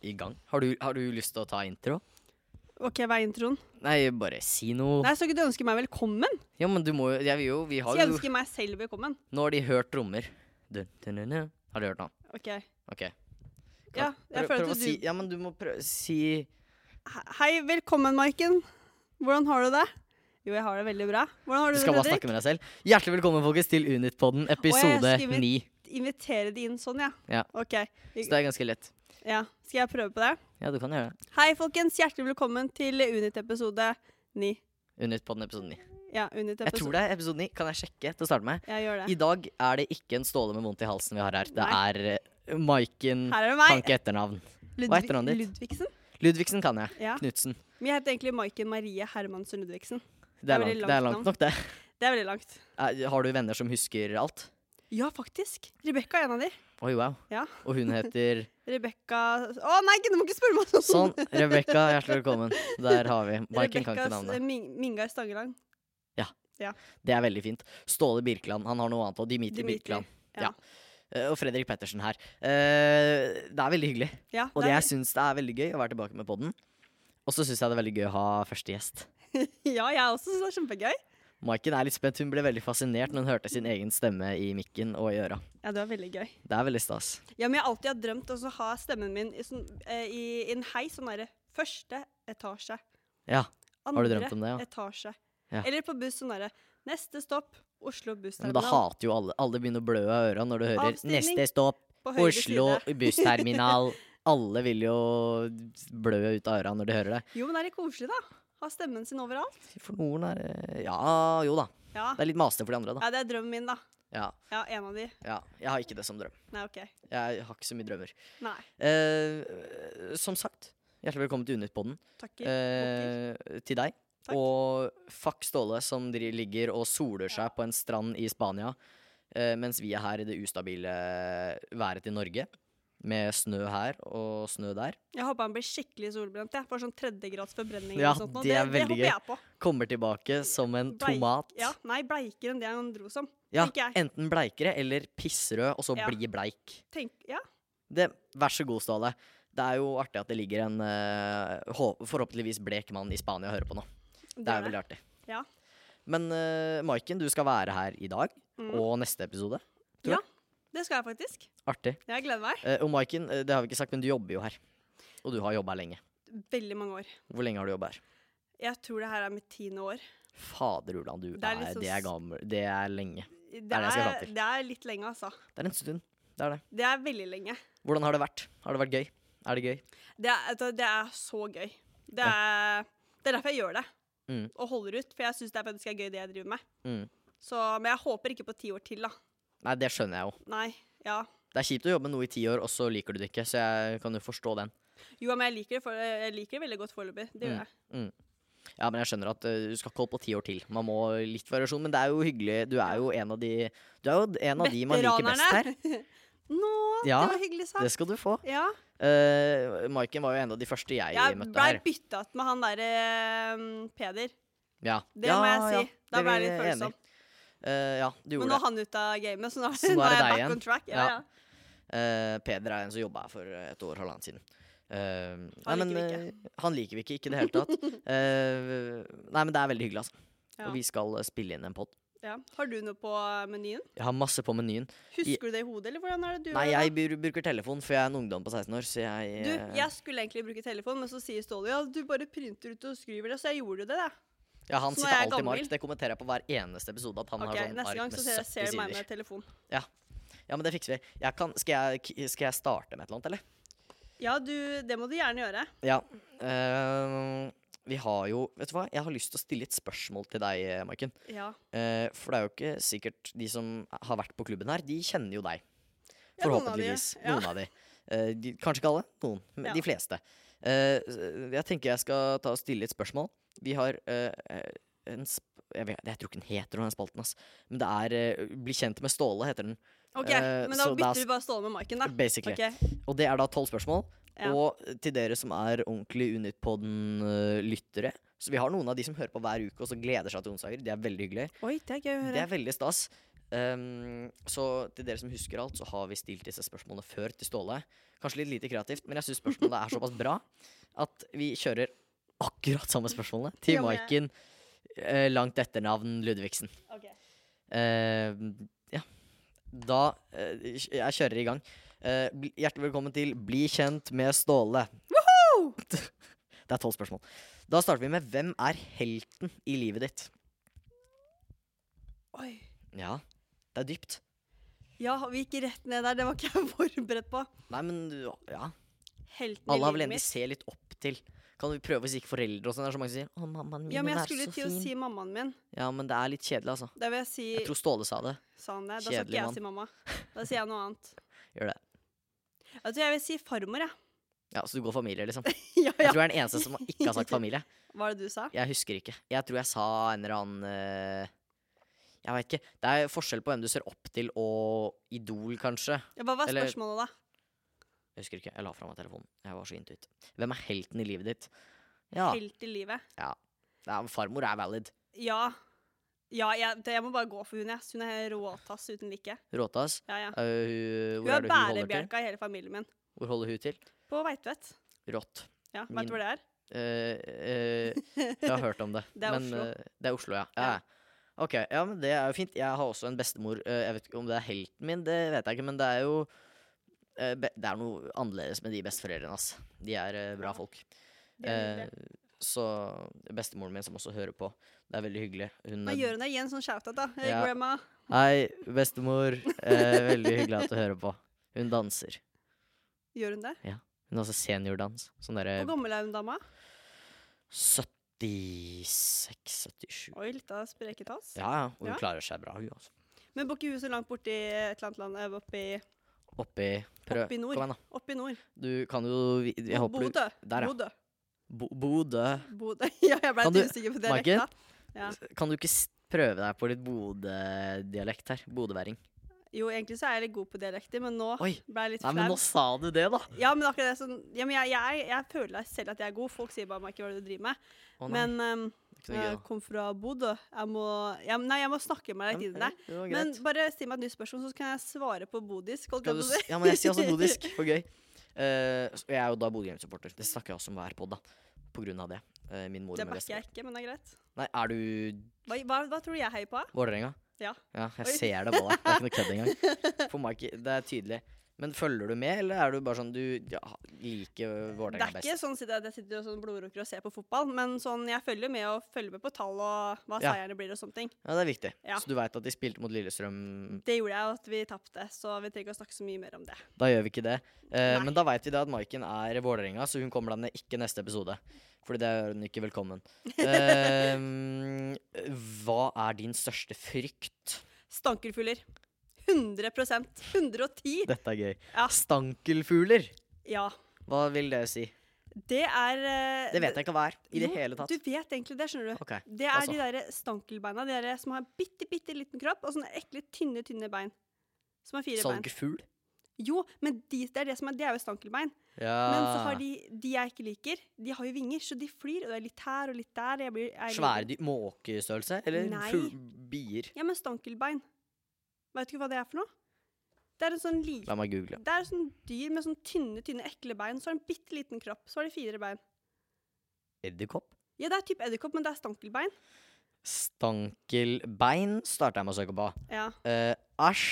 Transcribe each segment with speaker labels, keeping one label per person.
Speaker 1: i gang. Har du, har du lyst til å ta intro?
Speaker 2: Ok, hva er introen?
Speaker 1: Nei, bare si noe.
Speaker 2: Nei, så ikke du ønsker meg velkommen?
Speaker 1: Ja, men du må jo Jeg vil jo Vi
Speaker 2: Så
Speaker 1: har
Speaker 2: jeg
Speaker 1: jo
Speaker 2: ønsker meg selv velkommen.
Speaker 1: Nå har de hørt trommer. Dun, dun, dun, dun. Har de hørt nå?
Speaker 2: Ok.
Speaker 1: OK.
Speaker 2: Ja, jeg
Speaker 1: Prøv,
Speaker 2: følte
Speaker 1: prøv å
Speaker 2: du
Speaker 1: si Ja, men du må prøve Si
Speaker 2: He- Hei, velkommen, Maiken. Hvordan har du det? Jo, jeg har det veldig bra. Hvordan har
Speaker 1: Du
Speaker 2: du
Speaker 1: skal
Speaker 2: det,
Speaker 1: bare
Speaker 2: Fredrik?
Speaker 1: snakke med deg selv. Hjertelig velkommen, folkens, til Unit-podden episode
Speaker 2: Å, jeg skriver-
Speaker 1: ni.
Speaker 2: Invitere de inn sånn, ja.
Speaker 1: Ja.
Speaker 2: Ok.
Speaker 1: Så det er ganske lett.
Speaker 2: Ja. Skal jeg prøve på det?
Speaker 1: Ja, du kan gjøre det.
Speaker 2: Hei, folkens. Hjertelig velkommen til Unit-episode 9.
Speaker 1: Unit-podden episode ni.
Speaker 2: Ja, Unit-episode
Speaker 1: Jeg tror det er episode ni. Kan jeg sjekke til å starte med?
Speaker 2: Ja, gjør
Speaker 1: I
Speaker 2: det.
Speaker 1: dag er det ikke en Ståle med vondt i halsen vi har her. Det
Speaker 2: Nei.
Speaker 1: er eh, Maiken.
Speaker 2: Her er det
Speaker 1: Kan
Speaker 2: meg.
Speaker 1: ikke etternavn. hva heter navnet ditt?
Speaker 2: Ludvigsen?
Speaker 1: Ludvigsen kan jeg.
Speaker 2: Ja.
Speaker 1: Knutsen.
Speaker 2: Men jeg heter egentlig Maiken Marie Hermansen Ludvigsen.
Speaker 1: Det er,
Speaker 2: Det er veldig
Speaker 1: langt, det er
Speaker 2: langt
Speaker 1: langt nok, det.
Speaker 2: Det er veldig langt.
Speaker 1: Er- Har du venner som husker alt?
Speaker 2: Ja, faktisk. Rebekka er en av de.
Speaker 1: Oi, wow.
Speaker 2: Ja.
Speaker 1: Og hun heter
Speaker 2: Rebekka Å nei, du må ikke spørre meg
Speaker 1: Sånn. Rebekka, hjertelig velkommen. Der har vi. Maiken kan ikke
Speaker 2: Rebekkas, eh,
Speaker 1: navnet.
Speaker 2: Ming Mingar Stangeland.
Speaker 1: Det er veldig fint. Ståle Birkeland. Han har noe annet. Og Dimitri,
Speaker 2: Dimitri,
Speaker 1: Birkeland.
Speaker 2: ja.
Speaker 1: Ja. Eh, Og Fredrik Pettersen her. Eh, Det er veldig hyggelig.
Speaker 2: Ja,
Speaker 1: Og det
Speaker 2: det er-
Speaker 1: jeg syns det er veldig gøy å være tilbake med podden. Og så syns jeg det er veldig gøy å ha første gjest.
Speaker 2: Ja, jeg også syns det er kjempegøy.
Speaker 1: Maiken er litt spent. Hun ble veldig fascinert når hun hørte sin egen stemme i mikken og i øra.
Speaker 2: Ja, det var veldig gøy.
Speaker 1: Det er veldig stas.
Speaker 2: Ja, men jeg har alltid hatt drømt om å ha stemmen min i, sånn, eh, i i en heis, sånn derre første etasje.
Speaker 1: Ja.
Speaker 2: Andre
Speaker 1: Har du drømt om det, ja?
Speaker 2: etasje.
Speaker 1: Ja.
Speaker 2: Eller på buss sånn derre neste stopp, Oslo
Speaker 1: Men da
Speaker 2: bussterminal.
Speaker 1: hater jo alle Alle begynner å blø av øra når du hører
Speaker 2: Avstigning.
Speaker 1: 'neste stopp,
Speaker 2: På høyre
Speaker 1: Oslo
Speaker 2: side.
Speaker 1: bussterminal'. Alle vil jo blø ut av øra når de hører det.
Speaker 2: Jo, men det er litt koselig, da. Ha stemmen sin overalt.
Speaker 1: For noen er det- Ja, jo da.
Speaker 2: Ja.
Speaker 1: Det er litt masete for de andre, da.
Speaker 2: ja, det er drømmen min, da.
Speaker 1: Ja,
Speaker 2: Ja, en av de.
Speaker 1: ja. Jeg har ikke det som drøm.
Speaker 2: Nei, OK.
Speaker 1: Jeg har ikke så mye drømmer.
Speaker 2: Nei.
Speaker 1: Eh, som sagt, hjertelig velkommen til Unit-podden.
Speaker 2: Takker.
Speaker 1: eh, til deg.
Speaker 2: Takk.
Speaker 1: Og fuck Ståle, som dri- ligger og soler seg på en strand i Spania, eh, mens vi er her i det ustabile eh, været til Norge. Med snø her og snø der.
Speaker 2: Jeg håper han blir skikkelig solbrent. Jeg får sånn tredjegrads forbrenning.
Speaker 1: Ja,
Speaker 2: eller sånt, nå.
Speaker 1: det er veldig
Speaker 2: det håper jeg på.
Speaker 1: Kommer tilbake som en
Speaker 2: Bleik-
Speaker 1: tomat.
Speaker 2: Ja, nei, bleikere enn det han dro som.
Speaker 1: Ja,
Speaker 2: tenker jeg.
Speaker 1: enten bleikere eller pissrød, og så
Speaker 2: Ja.
Speaker 1: bli bleik.
Speaker 2: Tenk, ja,
Speaker 1: Det, vær så god, Ståle. Det er jo artig at det ligger en eh, hå- forhåpentligvis blek mann i Spania og hører på nå. Det er jo veldig artig.
Speaker 2: Ja.
Speaker 1: Men eh, Maiken, du skal være her i dag
Speaker 2: Mm.
Speaker 1: og neste episode.
Speaker 2: Det skal jeg faktisk.
Speaker 1: Artig.
Speaker 2: Jeg gleder meg.
Speaker 1: Eh, og Maiken, eh, det har vi ikke sagt, men du jobber jo her. Og du har jobba her lenge.
Speaker 2: Veldig mange år.
Speaker 1: Hvor lenge har du jobba her?
Speaker 2: Jeg tror det her er mitt tiende år.
Speaker 1: Fader Ulan, du
Speaker 2: Det
Speaker 1: det
Speaker 2: er
Speaker 1: er,
Speaker 2: liksom
Speaker 1: det, er gammel, det er lenge.
Speaker 2: Det
Speaker 1: er det jeg skal
Speaker 2: er,
Speaker 1: fram til.
Speaker 2: det er litt lenge, altså.
Speaker 1: Det er en stund. Det er det.
Speaker 2: Det er veldig lenge.
Speaker 1: Hvordan har det vært? Har det vært gøy? Er det gøy?
Speaker 2: Det er, vet du, det er så gøy. Det er, det er derfor jeg gjør det.
Speaker 1: Mm.
Speaker 2: Og holder ut. For jeg syns det er faktisk er gøy, det jeg driver med.
Speaker 1: Mm.
Speaker 2: Så, men jeg håper ikke på ti år til, da.
Speaker 1: Nei, det skjønner jeg jo.
Speaker 2: Nei. Ja.
Speaker 1: Det er kjipt å jobbe med noe i ti år, og så liker du det ikke. Så jeg kan jo forstå den.
Speaker 2: Jo, men jeg liker det, for, jeg liker det veldig godt foreløpig. Det gjør
Speaker 1: Mm.
Speaker 2: jeg.
Speaker 1: Ja, men jeg skjønner at eh, du skal ikke holde på ti år til. Man må litt variasjon, men det er jo hyggelig. Du er jo en av de Du er jo en av de man liker best her.
Speaker 2: Veteranerne. Nå,
Speaker 1: Ja,
Speaker 2: det var hyggelig sagt.
Speaker 1: Det skal du få.
Speaker 2: Ja.
Speaker 1: Eh, Maiken var jo en av de første jeg,
Speaker 2: Jeg
Speaker 1: møtte
Speaker 2: blei
Speaker 1: her.
Speaker 2: bytta ut med han derre Peder.
Speaker 1: Ja.
Speaker 2: Det
Speaker 1: ja,
Speaker 2: må jeg si.
Speaker 1: ja,
Speaker 2: Da
Speaker 1: det
Speaker 2: ble
Speaker 1: er
Speaker 2: jeg litt
Speaker 1: jeg enig i.
Speaker 2: følsom.
Speaker 1: Eh, ja, du
Speaker 2: Men
Speaker 1: gjorde
Speaker 2: nå
Speaker 1: det.
Speaker 2: er han ute av gamet, så nå,
Speaker 1: Så nå
Speaker 2: nå
Speaker 1: er
Speaker 2: er
Speaker 1: det
Speaker 2: jeg
Speaker 1: deg
Speaker 2: back
Speaker 1: igjen.
Speaker 2: on track. Ja,
Speaker 1: Ja.
Speaker 2: ja.
Speaker 1: Eh, Peder er en som jobba her for eh, et år, halvannet siden. Eh,
Speaker 2: Han
Speaker 1: nei,
Speaker 2: liker
Speaker 1: men,
Speaker 2: vi ikke.
Speaker 1: eh, han liker vi ikke, ikke i det hele tatt. Eh, nei, men det er veldig hyggelig, altså.
Speaker 2: Ja.
Speaker 1: Og vi skal eh, spille inn en pod.
Speaker 2: Ja. Har du noe på menyen?
Speaker 1: Jeg har masse på menyen.
Speaker 2: Husker du det i hodet, eller hvordan er det du
Speaker 1: Nei,
Speaker 2: gjør
Speaker 1: jeg
Speaker 2: det?
Speaker 1: bur- bruker telefon, for jeg er en ungdom på 16 år, så jeg
Speaker 2: Du,
Speaker 1: eh,
Speaker 2: jeg skulle egentlig bruke telefon, men så sier Ståle ja, du bare printer ut og skriver det, så jeg gjorde det, da.
Speaker 1: Ja, han
Speaker 2: så nå
Speaker 1: sitter
Speaker 2: er jeg
Speaker 1: alltid i mark.
Speaker 2: gammel.
Speaker 1: Det kommenterer jeg på hver eneste episode. At han
Speaker 2: Ok,
Speaker 1: har sånn
Speaker 2: Neste
Speaker 1: ark
Speaker 2: gang
Speaker 1: med
Speaker 2: så ser
Speaker 1: 70
Speaker 2: jeg ser meg
Speaker 1: sider.
Speaker 2: med telefon.
Speaker 1: Ja, men det fikser vi. Jeg kan, skal, jeg, skal jeg starte med et eller annet, eller?
Speaker 2: Ja, du, det må du gjerne gjøre.
Speaker 1: Ja. eh, vi har jo Vet du hva, jeg har lyst til å stille et spørsmål til deg, eh, Maiken.
Speaker 2: Ja.
Speaker 1: Eh, for det er jo ikke sikkert de som har vært på klubben her, de kjenner jo deg.
Speaker 2: Ja, noen av de,
Speaker 1: Forhåpentligvis.
Speaker 2: ja.
Speaker 1: Noen av de. Eh, de kanskje ikke alle, noen. Men
Speaker 2: Ja.
Speaker 1: de fleste. Eh, s- jeg tenker jeg skal ta og stille et spørsmål. Vi har eh, eh, en sp jeg, vet, jeg tror ikke den heter noe, den spalten, ass. Men det er eh, Bli kjent med Ståle, heter den.
Speaker 2: OK,
Speaker 1: Eh,
Speaker 2: men da
Speaker 1: så da
Speaker 2: bytter
Speaker 1: s-
Speaker 2: vi bare Ståle med Maiken, da.
Speaker 1: Basically.
Speaker 2: Ah, Ok,
Speaker 1: Og det er da tolv spørsmål.
Speaker 2: Ja.
Speaker 1: Og til dere som er ordentlig eh, Unitpodden-lyttere Så vi har noen av de som hører på hver uke og så gleder seg til onsdager. Det er veldig hyggelig.
Speaker 2: Oi, det er gøy å høre.
Speaker 1: Det er veldig stas. Ehm, så til dere som husker alt, så har vi stilt disse spørsmålene før til Ståle. Kanskje litt lite kreativt, men jeg syns spørsmålene er såpass bra at vi kjører akkurat samme spørsmålene til
Speaker 2: Ja, men-
Speaker 1: Maiken eh, langt etternavn Ludvigsen.
Speaker 2: Ok.
Speaker 1: Ehm, ja. Da eh, Jeg kjører i gang. Eh, bli- hjertelig velkommen til Bli kjent med Ståle. Det er tolv spørsmål. Da starter vi med Hvem er helten i livet ditt?
Speaker 2: Oi.
Speaker 1: Ja, det er dypt.
Speaker 2: Ja, vi gikk rett ned der. Det var ikke jeg forberedt på.
Speaker 1: Nei, men du- ja.
Speaker 2: Helten
Speaker 1: Alle har
Speaker 2: i
Speaker 1: vel
Speaker 2: livet
Speaker 1: en de
Speaker 2: mitt.
Speaker 1: ser litt opp til. Kan vi prøve hvis ikke foreldre og sånn? Det er så mange som sier 'Å, mammaen min,
Speaker 2: Ja,
Speaker 1: hun
Speaker 2: men jeg
Speaker 1: er
Speaker 2: skulle
Speaker 1: så
Speaker 2: til å
Speaker 1: fin'.
Speaker 2: si mammaen min.
Speaker 1: Ja, men det er litt kjedelig, altså.
Speaker 2: Da vil jeg si
Speaker 1: Jeg tror Ståle sa det.
Speaker 2: Sa han det? Da
Speaker 1: Kjedelig
Speaker 2: skal ikke
Speaker 1: mann.
Speaker 2: jeg si mamma. Da sier jeg noe annet.
Speaker 1: Gjør det.
Speaker 2: Jeg tror jeg vil si farmor, jeg.
Speaker 1: Ja, Så du går familie, liksom?
Speaker 2: Ja,
Speaker 1: Jeg
Speaker 2: ja.
Speaker 1: tror jeg er den eneste som ikke har sagt familie.
Speaker 2: Hva er det du sa?
Speaker 1: Jeg husker ikke. Jeg tror jeg sa en eller annen eh, Jeg veit ikke. Det er forskjell på hvem du ser opp til og Idol, kanskje.
Speaker 2: Ja, Hva var
Speaker 1: Eller-
Speaker 2: spørsmålet, da?
Speaker 1: Jeg husker ikke. Jeg la fra meg telefonen. Jeg var så intuit. Hvem er helten i livet ditt? Ja,
Speaker 2: Helt i livet?
Speaker 1: ja farmor er valid.
Speaker 2: Ja. Ja, jeg, det, jeg må bare gå for hun, jeg. Hun er råtass uten like.
Speaker 1: Råtass.
Speaker 2: Ja, ja.
Speaker 1: eh, hun- hvor
Speaker 2: Hun
Speaker 1: er
Speaker 2: er
Speaker 1: det hun holder til?
Speaker 2: bærebjelka i hele familien min.
Speaker 1: Hvor holder hun til?
Speaker 2: På Veitvet.
Speaker 1: Rått.
Speaker 2: Ja,
Speaker 1: Min-
Speaker 2: Veit du hvor det er?
Speaker 1: Eh, eh, jeg har hørt om det.
Speaker 2: Det er
Speaker 1: men,
Speaker 2: Oslo.
Speaker 1: eh, det er Oslo, ja. ja.
Speaker 2: Ja.
Speaker 1: ja. Ok, ja, men Det er jo fint. Jeg har også en bestemor. eh, jeg vet ikke om det er helten min, det vet jeg ikke, men det er jo eh, be Det er noe annerledes med de besteforeldrene, ass. De er eh, bra
Speaker 2: Ja,
Speaker 1: folk.
Speaker 2: det er
Speaker 1: Eh, så bestemoren min, som også hører på, det er veldig hyggelig. Hun
Speaker 2: Nå
Speaker 1: eh,
Speaker 2: gjør hun deg igjen sånn shout-out, da. Hey,
Speaker 1: Ja.
Speaker 2: grandma.
Speaker 1: Hei, bestemor. Eh, veldig hyggelig at du hører på. Hun danser.
Speaker 2: Gjør hun det?
Speaker 1: Hun har også seniordans. Sånn derre
Speaker 2: Hvor gammel er hun dama?
Speaker 1: 76-77.
Speaker 2: Oi, litt av spreketass.
Speaker 1: Ja, ja. Og hun
Speaker 2: Ja.
Speaker 1: klarer seg bra, hun, altså.
Speaker 2: Men bor ikke hun så langt borti et eller annet land? eh, Oppi,
Speaker 1: Oppi Prøv.
Speaker 2: Oppi nord.
Speaker 1: Kom igjen, da.
Speaker 2: oppi nord?
Speaker 1: Du kan jo vi- Jeg håper du
Speaker 2: Bodø.
Speaker 1: Der, ja.
Speaker 2: Bodø.
Speaker 1: Bo- Bodø.
Speaker 2: Bodø. Ja, jeg ble
Speaker 1: Kan
Speaker 2: litt
Speaker 1: du-
Speaker 2: usikker på
Speaker 1: Maiken?
Speaker 2: dialekta. Ja.
Speaker 1: Kan du ikke s- prøve deg på litt Bodø-dialekt her? Bodøværing.
Speaker 2: Jo, egentlig så er jeg litt god på dialekter, men nå
Speaker 1: Oi.
Speaker 2: ble jeg litt
Speaker 1: Nei, men nå
Speaker 2: flau.
Speaker 1: sa du det, da!
Speaker 2: Ja, men akkurat det sånn ja, men jeg, jeg, jeg føler selv at jeg er god. Folk sier bare meg ikke hva er det du driver med.
Speaker 1: Å, nei.
Speaker 2: men ehm,
Speaker 1: Det er ikke noe gøy,
Speaker 2: jeg
Speaker 1: da.
Speaker 2: kom fra Bodø. Jeg må, jeg, nei, jeg må snakke med deg i tiden. der.
Speaker 1: Ja, det var
Speaker 2: Men
Speaker 1: greit.
Speaker 2: bare still meg et nytt spørsmål, så kan jeg svare på bodisk. holdt
Speaker 1: Skal
Speaker 2: jeg
Speaker 1: du
Speaker 2: på å
Speaker 1: s-
Speaker 2: si.
Speaker 1: Ja, men jeg sier også bodisk. For gøy. Eh, så jeg er jo da Bodø Glimt-supporter. Det snakker jeg også om hver pod, da. På grunn av det. Eh, min mor
Speaker 2: Det
Speaker 1: og min
Speaker 2: backer
Speaker 1: bestemor.
Speaker 2: jeg ikke, men det er greit.
Speaker 1: Nei, er du
Speaker 2: Hva, hva, hva tror du jeg heier på?
Speaker 1: Vålerenga?
Speaker 2: Ja.
Speaker 1: ja. Jeg
Speaker 2: Oi.
Speaker 1: ser det på deg. Det er ikke noe kødd engang. For Mike, det er tydelig. Men følger du med, eller er du bare sånn du ja, liker
Speaker 2: Det er
Speaker 1: Vålerenga
Speaker 2: ikke
Speaker 1: best?
Speaker 2: sånn at jeg sitter og sånn blodrukker og ser på fotball, men sånn, jeg følger med og følger med på tall og hva
Speaker 1: Ja.
Speaker 2: seierne blir og sånne ting.
Speaker 1: Ja, det er viktig.
Speaker 2: Ja.
Speaker 1: Så du veit at de spilte mot Lillestrøm
Speaker 2: Det gjorde jeg, og at vi tapte, så vi trenger ikke å snakke så mye mer om det.
Speaker 1: Da gjør vi ikke det. Eh,
Speaker 2: Nei.
Speaker 1: men da veit vi det at Maiken er Vålerenga, så hun kommer da ned ikke neste episode. Fordi det er hun ikke velkommen. Ehm, hva er din største frykt?
Speaker 2: Stankerfugler. 100 110
Speaker 1: Dette er gøy.
Speaker 2: Ja.
Speaker 1: Stankelfugler.
Speaker 2: Ja.
Speaker 1: Hva vil det si?
Speaker 2: Det er eh,
Speaker 1: Det vet jeg ikke hva er i det
Speaker 2: jo,
Speaker 1: hele tatt.
Speaker 2: Du vet egentlig det, skjønner du.
Speaker 1: Ok,
Speaker 2: Det er
Speaker 1: altså.
Speaker 2: de derre stankelbeina. De derre som har bitte, bitte liten kropp og sånne ekle, tynne, tynne bein. Som har fire bein.
Speaker 1: Salgfugl?
Speaker 2: Jo, men de, det er det som er, det er jo stankelbein.
Speaker 1: Ja.
Speaker 2: Men så har de de jeg ikke liker, de har jo vinger, så de flyr. Og det er litt her og litt der. Jeg blir, jeg
Speaker 1: Svære
Speaker 2: liker-
Speaker 1: dyr? Måkestørrelse? Eller
Speaker 2: Nei.
Speaker 1: fugl- bier?
Speaker 2: Ja, men stankelbein. Vet du ikke hva det er for noe? Det er en sånn liten
Speaker 1: La meg google.
Speaker 2: Det er sånn dyr med sånn tynne, tynne, ekle bein. Så har de en bitte liten kropp. Så har de fire bein.
Speaker 1: Edderkopp?
Speaker 2: Ja, det er type edderkopp, men det er stankelbein.
Speaker 1: Stankelbein starta jeg med å søke på.
Speaker 2: Ja.
Speaker 1: Eh, Æsj.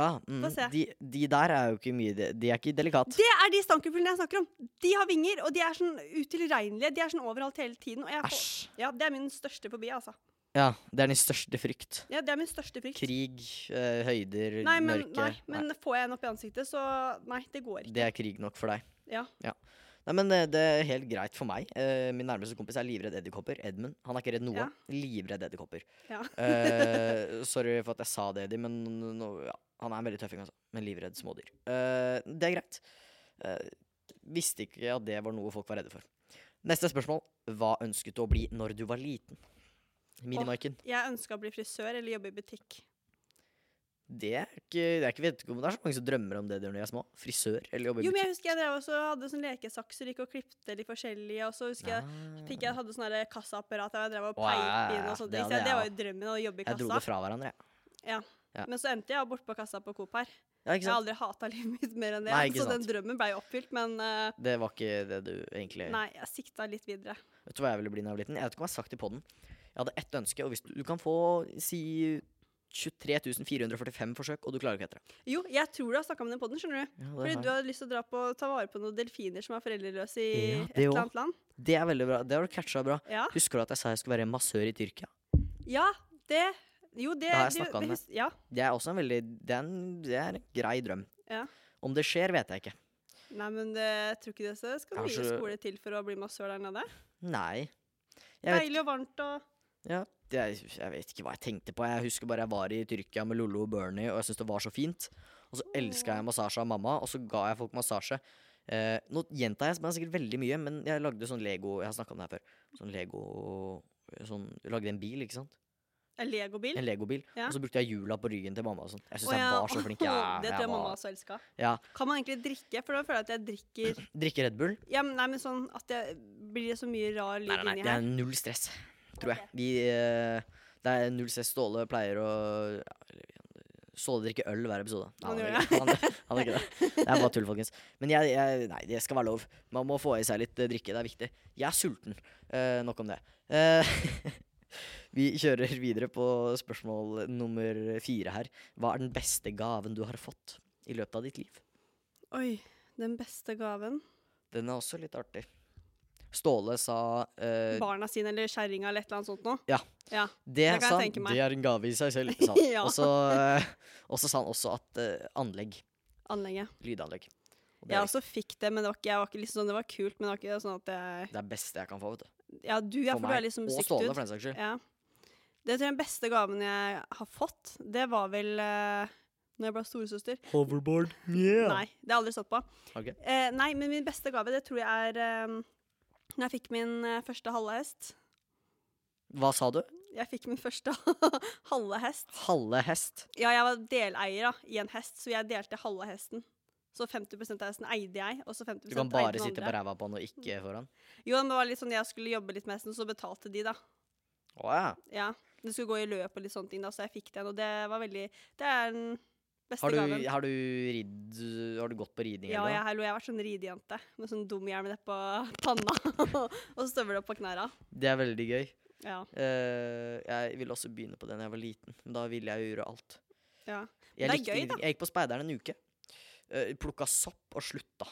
Speaker 1: ja,
Speaker 2: Få
Speaker 1: mm,
Speaker 2: se.
Speaker 1: de, de der er jo ikke mye De, de er ikke delikate.
Speaker 2: Det er de stankelfuglene jeg snakker om. De har vinger, og de er sånn utilregnelige. De er sånn overalt hele tiden. Og jeg får,
Speaker 1: Æsj.
Speaker 2: ja, det er min største fobi, altså.
Speaker 1: Ja, det er din største frykt.
Speaker 2: Ja, det er min største frykt.
Speaker 1: Krig, eh, høyder,
Speaker 2: Nei, men,
Speaker 1: mørke.
Speaker 2: nei, men får jeg en opp i ansiktet, så Nei, det går ikke.
Speaker 1: Det er krig nok for deg.
Speaker 2: Ja.
Speaker 1: Nei, men eh, Det er helt greit for meg. Eh, Min nærmeste kompis er livredd edderkopper. Edmund. Han er ikke redd noe.
Speaker 2: Ja.
Speaker 1: Livredd edderkopper.
Speaker 2: Ja.
Speaker 1: Eh, sorry for at jeg sa det, Eddie, men nå, ja, han er en veldig tøffing, altså. Men livredd smådyr. Eh, det er greit. Eh, visste ikke at det var noe folk var redde for. Neste spørsmål. Hva ønsket du å bli når du var liten? Minimarken.
Speaker 2: Jeg ønska å bli frisør eller jobbe i butikk.
Speaker 1: Det er ikke, det er ikke vet ikke om det er så mange som drømmer om det de gjør når de er små. Frisør eller jobber i
Speaker 2: Jo, men jeg husker jeg drev også, hadde sånn lekesakser, gikk og klippte de forskjellige, og så husker jeg
Speaker 1: Ah.
Speaker 2: fikk jeg hadde sånn der kassaapparat der jeg drev og
Speaker 1: Å, ja, ja,
Speaker 2: peip
Speaker 1: ja.
Speaker 2: inn og sånt.
Speaker 1: Det
Speaker 2: Det,
Speaker 1: hadde jeg
Speaker 2: det var
Speaker 1: også.
Speaker 2: jo drømmen å jobbe i
Speaker 1: Jeg dro
Speaker 2: kassa.
Speaker 1: det fra hverandre, jeg. Ja.
Speaker 2: Men så endte jeg bortpå kassa på Coop her.
Speaker 1: Ja,
Speaker 2: Jeg
Speaker 1: ikke
Speaker 2: har
Speaker 1: sant?
Speaker 2: aldri hata livet mitt mer enn det.
Speaker 1: Nei, ikke
Speaker 2: så den
Speaker 1: sant.
Speaker 2: drømmen ble jo oppfylt, men eh,
Speaker 1: Det var ikke det du egentlig
Speaker 2: nei, jeg sikta litt videre.
Speaker 1: Vet du hva jeg ville bli når jeg var liten? Jeg vet ikke om jeg har sagt det på den. Jeg hadde ett ønske, og hvis du, du kan få si 23 445 forsøk, og du klarer ikke etter det.
Speaker 2: Jo, jeg tror du har snakka med den podden, skjønner du.
Speaker 1: Ja, det,
Speaker 2: Fordi
Speaker 1: har
Speaker 2: du
Speaker 1: jeg.
Speaker 2: hadde lyst til å dra på, ta vare på noen delfiner som er foreldreløse i
Speaker 1: Ja,
Speaker 2: et
Speaker 1: det
Speaker 2: eller
Speaker 1: også.
Speaker 2: annet land.
Speaker 1: det er veldig bra. Det har du catcha bra.
Speaker 2: Ja.
Speaker 1: Husker du at jeg sa jeg skulle være massør i Tyrkia?
Speaker 2: ja, det Jo, det
Speaker 1: Da har jeg
Speaker 2: det-
Speaker 1: snakket
Speaker 2: det
Speaker 1: med.
Speaker 2: hus- Ja.
Speaker 1: Det er også en veldig Det er en, det er en grei drøm.
Speaker 2: Ja.
Speaker 1: Om det skjer, vet jeg ikke.
Speaker 2: Nei, men det, jeg tror ikke det så skal mye
Speaker 1: Kanskje-
Speaker 2: skole til for å bli massør der nede.
Speaker 1: Nei. Jeg vet,
Speaker 2: Deilig og varmt og
Speaker 1: jeg, jeg vet ikke hva jeg tenkte på. Jeg husker bare jeg var i Tyrkia med Lollo og Bernie, og jeg syntes det var så fint. Og så elska jeg massasje av mamma, og så ga jeg folk massasje. Eh, nå gjentar jeg meg sikkert veldig mye, men jeg lagde sånn Lego Jeg har snakka om det her før. Sånn Lego sånn, Lagde en bil, ikke sant?
Speaker 2: en legobil.
Speaker 1: En Legobil.
Speaker 2: Ja.
Speaker 1: Og så brukte jeg hjula på ryggen til mamma og sånn. Jeg syns
Speaker 2: Å,
Speaker 1: jeg
Speaker 2: ja.
Speaker 1: var så flink. Ja,
Speaker 2: det tror
Speaker 1: jeg
Speaker 2: jeg mamma
Speaker 1: var-
Speaker 2: også elska.
Speaker 1: Ja.
Speaker 2: Kan man egentlig drikke? For da føler jeg at jeg drikker
Speaker 1: Drikke Red Bull?
Speaker 2: ja, men, Nei, men sånn at jeg blir det så mye rar lyd
Speaker 1: Nei, nei, nei.
Speaker 2: inni
Speaker 1: Det er
Speaker 2: her.
Speaker 1: null stress, tror jeg.
Speaker 2: Ok.
Speaker 1: Vi eh, Det er null stress. Ståle pleier å ja, eller, Ståle drikker øl hver episode.
Speaker 2: Han
Speaker 1: han,
Speaker 2: gjør
Speaker 1: gjør ikke- han, han gjør ikke det. Det er bare tull, folkens. Men jeg, jeg Nei, det skal være lov. Man må få i seg litt eh, drikke. Det er viktig. Jeg er sulten. Eh, nok om det. Eh, vi kjører videre på spørsmål nummer fire her. Hva er den beste gaven du har fått i løpet av ditt liv?
Speaker 2: Oi, den beste gaven.
Speaker 1: Den er også litt artig. Ståle sa eh,
Speaker 2: Barna sine eller kjerringa eller et eller annet sånt noe.
Speaker 1: Ja.
Speaker 2: ja.
Speaker 1: Det,
Speaker 2: Det kan jeg
Speaker 1: sa han,
Speaker 2: tenke meg.
Speaker 1: det er en gave i seg selv, sa han.
Speaker 2: Ja.
Speaker 1: og, så, eh, og så sa han også at eh, anlegg,
Speaker 2: Anlegget.
Speaker 1: lydanlegg og det,
Speaker 2: Jeg
Speaker 1: er,
Speaker 2: også fikk det, men det var ikke, jeg var ikke liksom sånn, det var kult, men det var ikke sånn at jeg
Speaker 1: det er beste jeg kan få, vet du.
Speaker 2: Ja, du, ja, for du er liksom
Speaker 1: og Ståle,
Speaker 2: musikkdude.
Speaker 1: for den saks skyld.
Speaker 2: Ja. Det tror jeg den beste gaven jeg har fått, det var vel uh, når jeg ble storesøster.
Speaker 1: Hoverboard, yeah!
Speaker 2: Nei, det har jeg aldri stått på.
Speaker 1: Har du ikke?
Speaker 2: Eh, nei, men min beste gave, det tror jeg er eh, når jeg fikk min eh, første halve hest.
Speaker 1: Hva sa du?
Speaker 2: Jeg fikk min første halve hest.
Speaker 1: Halve hest.
Speaker 2: Ja, jeg var deleier da, i en hest, så jeg delte halve hesten. Så 50 av hesten eide jeg, og så 50
Speaker 1: Du kan bare
Speaker 2: eide den
Speaker 1: sitte på
Speaker 2: andre.
Speaker 1: ræva på han og ikke
Speaker 2: Mm.
Speaker 1: foran.
Speaker 2: Jo, men det var litt sånn jeg skulle jobbe litt med hesten, så betalte de, da.
Speaker 1: Å ja.
Speaker 2: Ja. Det skulle gå i løp og litt sånne ting, da, så jeg fikk den, og det var veldig Det er den beste
Speaker 1: Har du,
Speaker 2: gaven.
Speaker 1: har, du ridd, har du gått på ridning?
Speaker 2: Ja,
Speaker 1: eller
Speaker 2: jeg,
Speaker 1: noe?
Speaker 2: hallo, jeg har vært sånn ridejente med sånn dum hjelm ned på panna og støvler opp på knærne.
Speaker 1: Det er veldig gøy.
Speaker 2: Ja.
Speaker 1: Eh, jeg ville også begynne på det da jeg var liten, men da ville jeg jo gjøre alt.
Speaker 2: Ja.
Speaker 1: Jeg,
Speaker 2: Det er
Speaker 1: likte
Speaker 2: gøy,
Speaker 1: ingenting. jeg gikk på speideren en uke. eh, plukka sopp og slutta.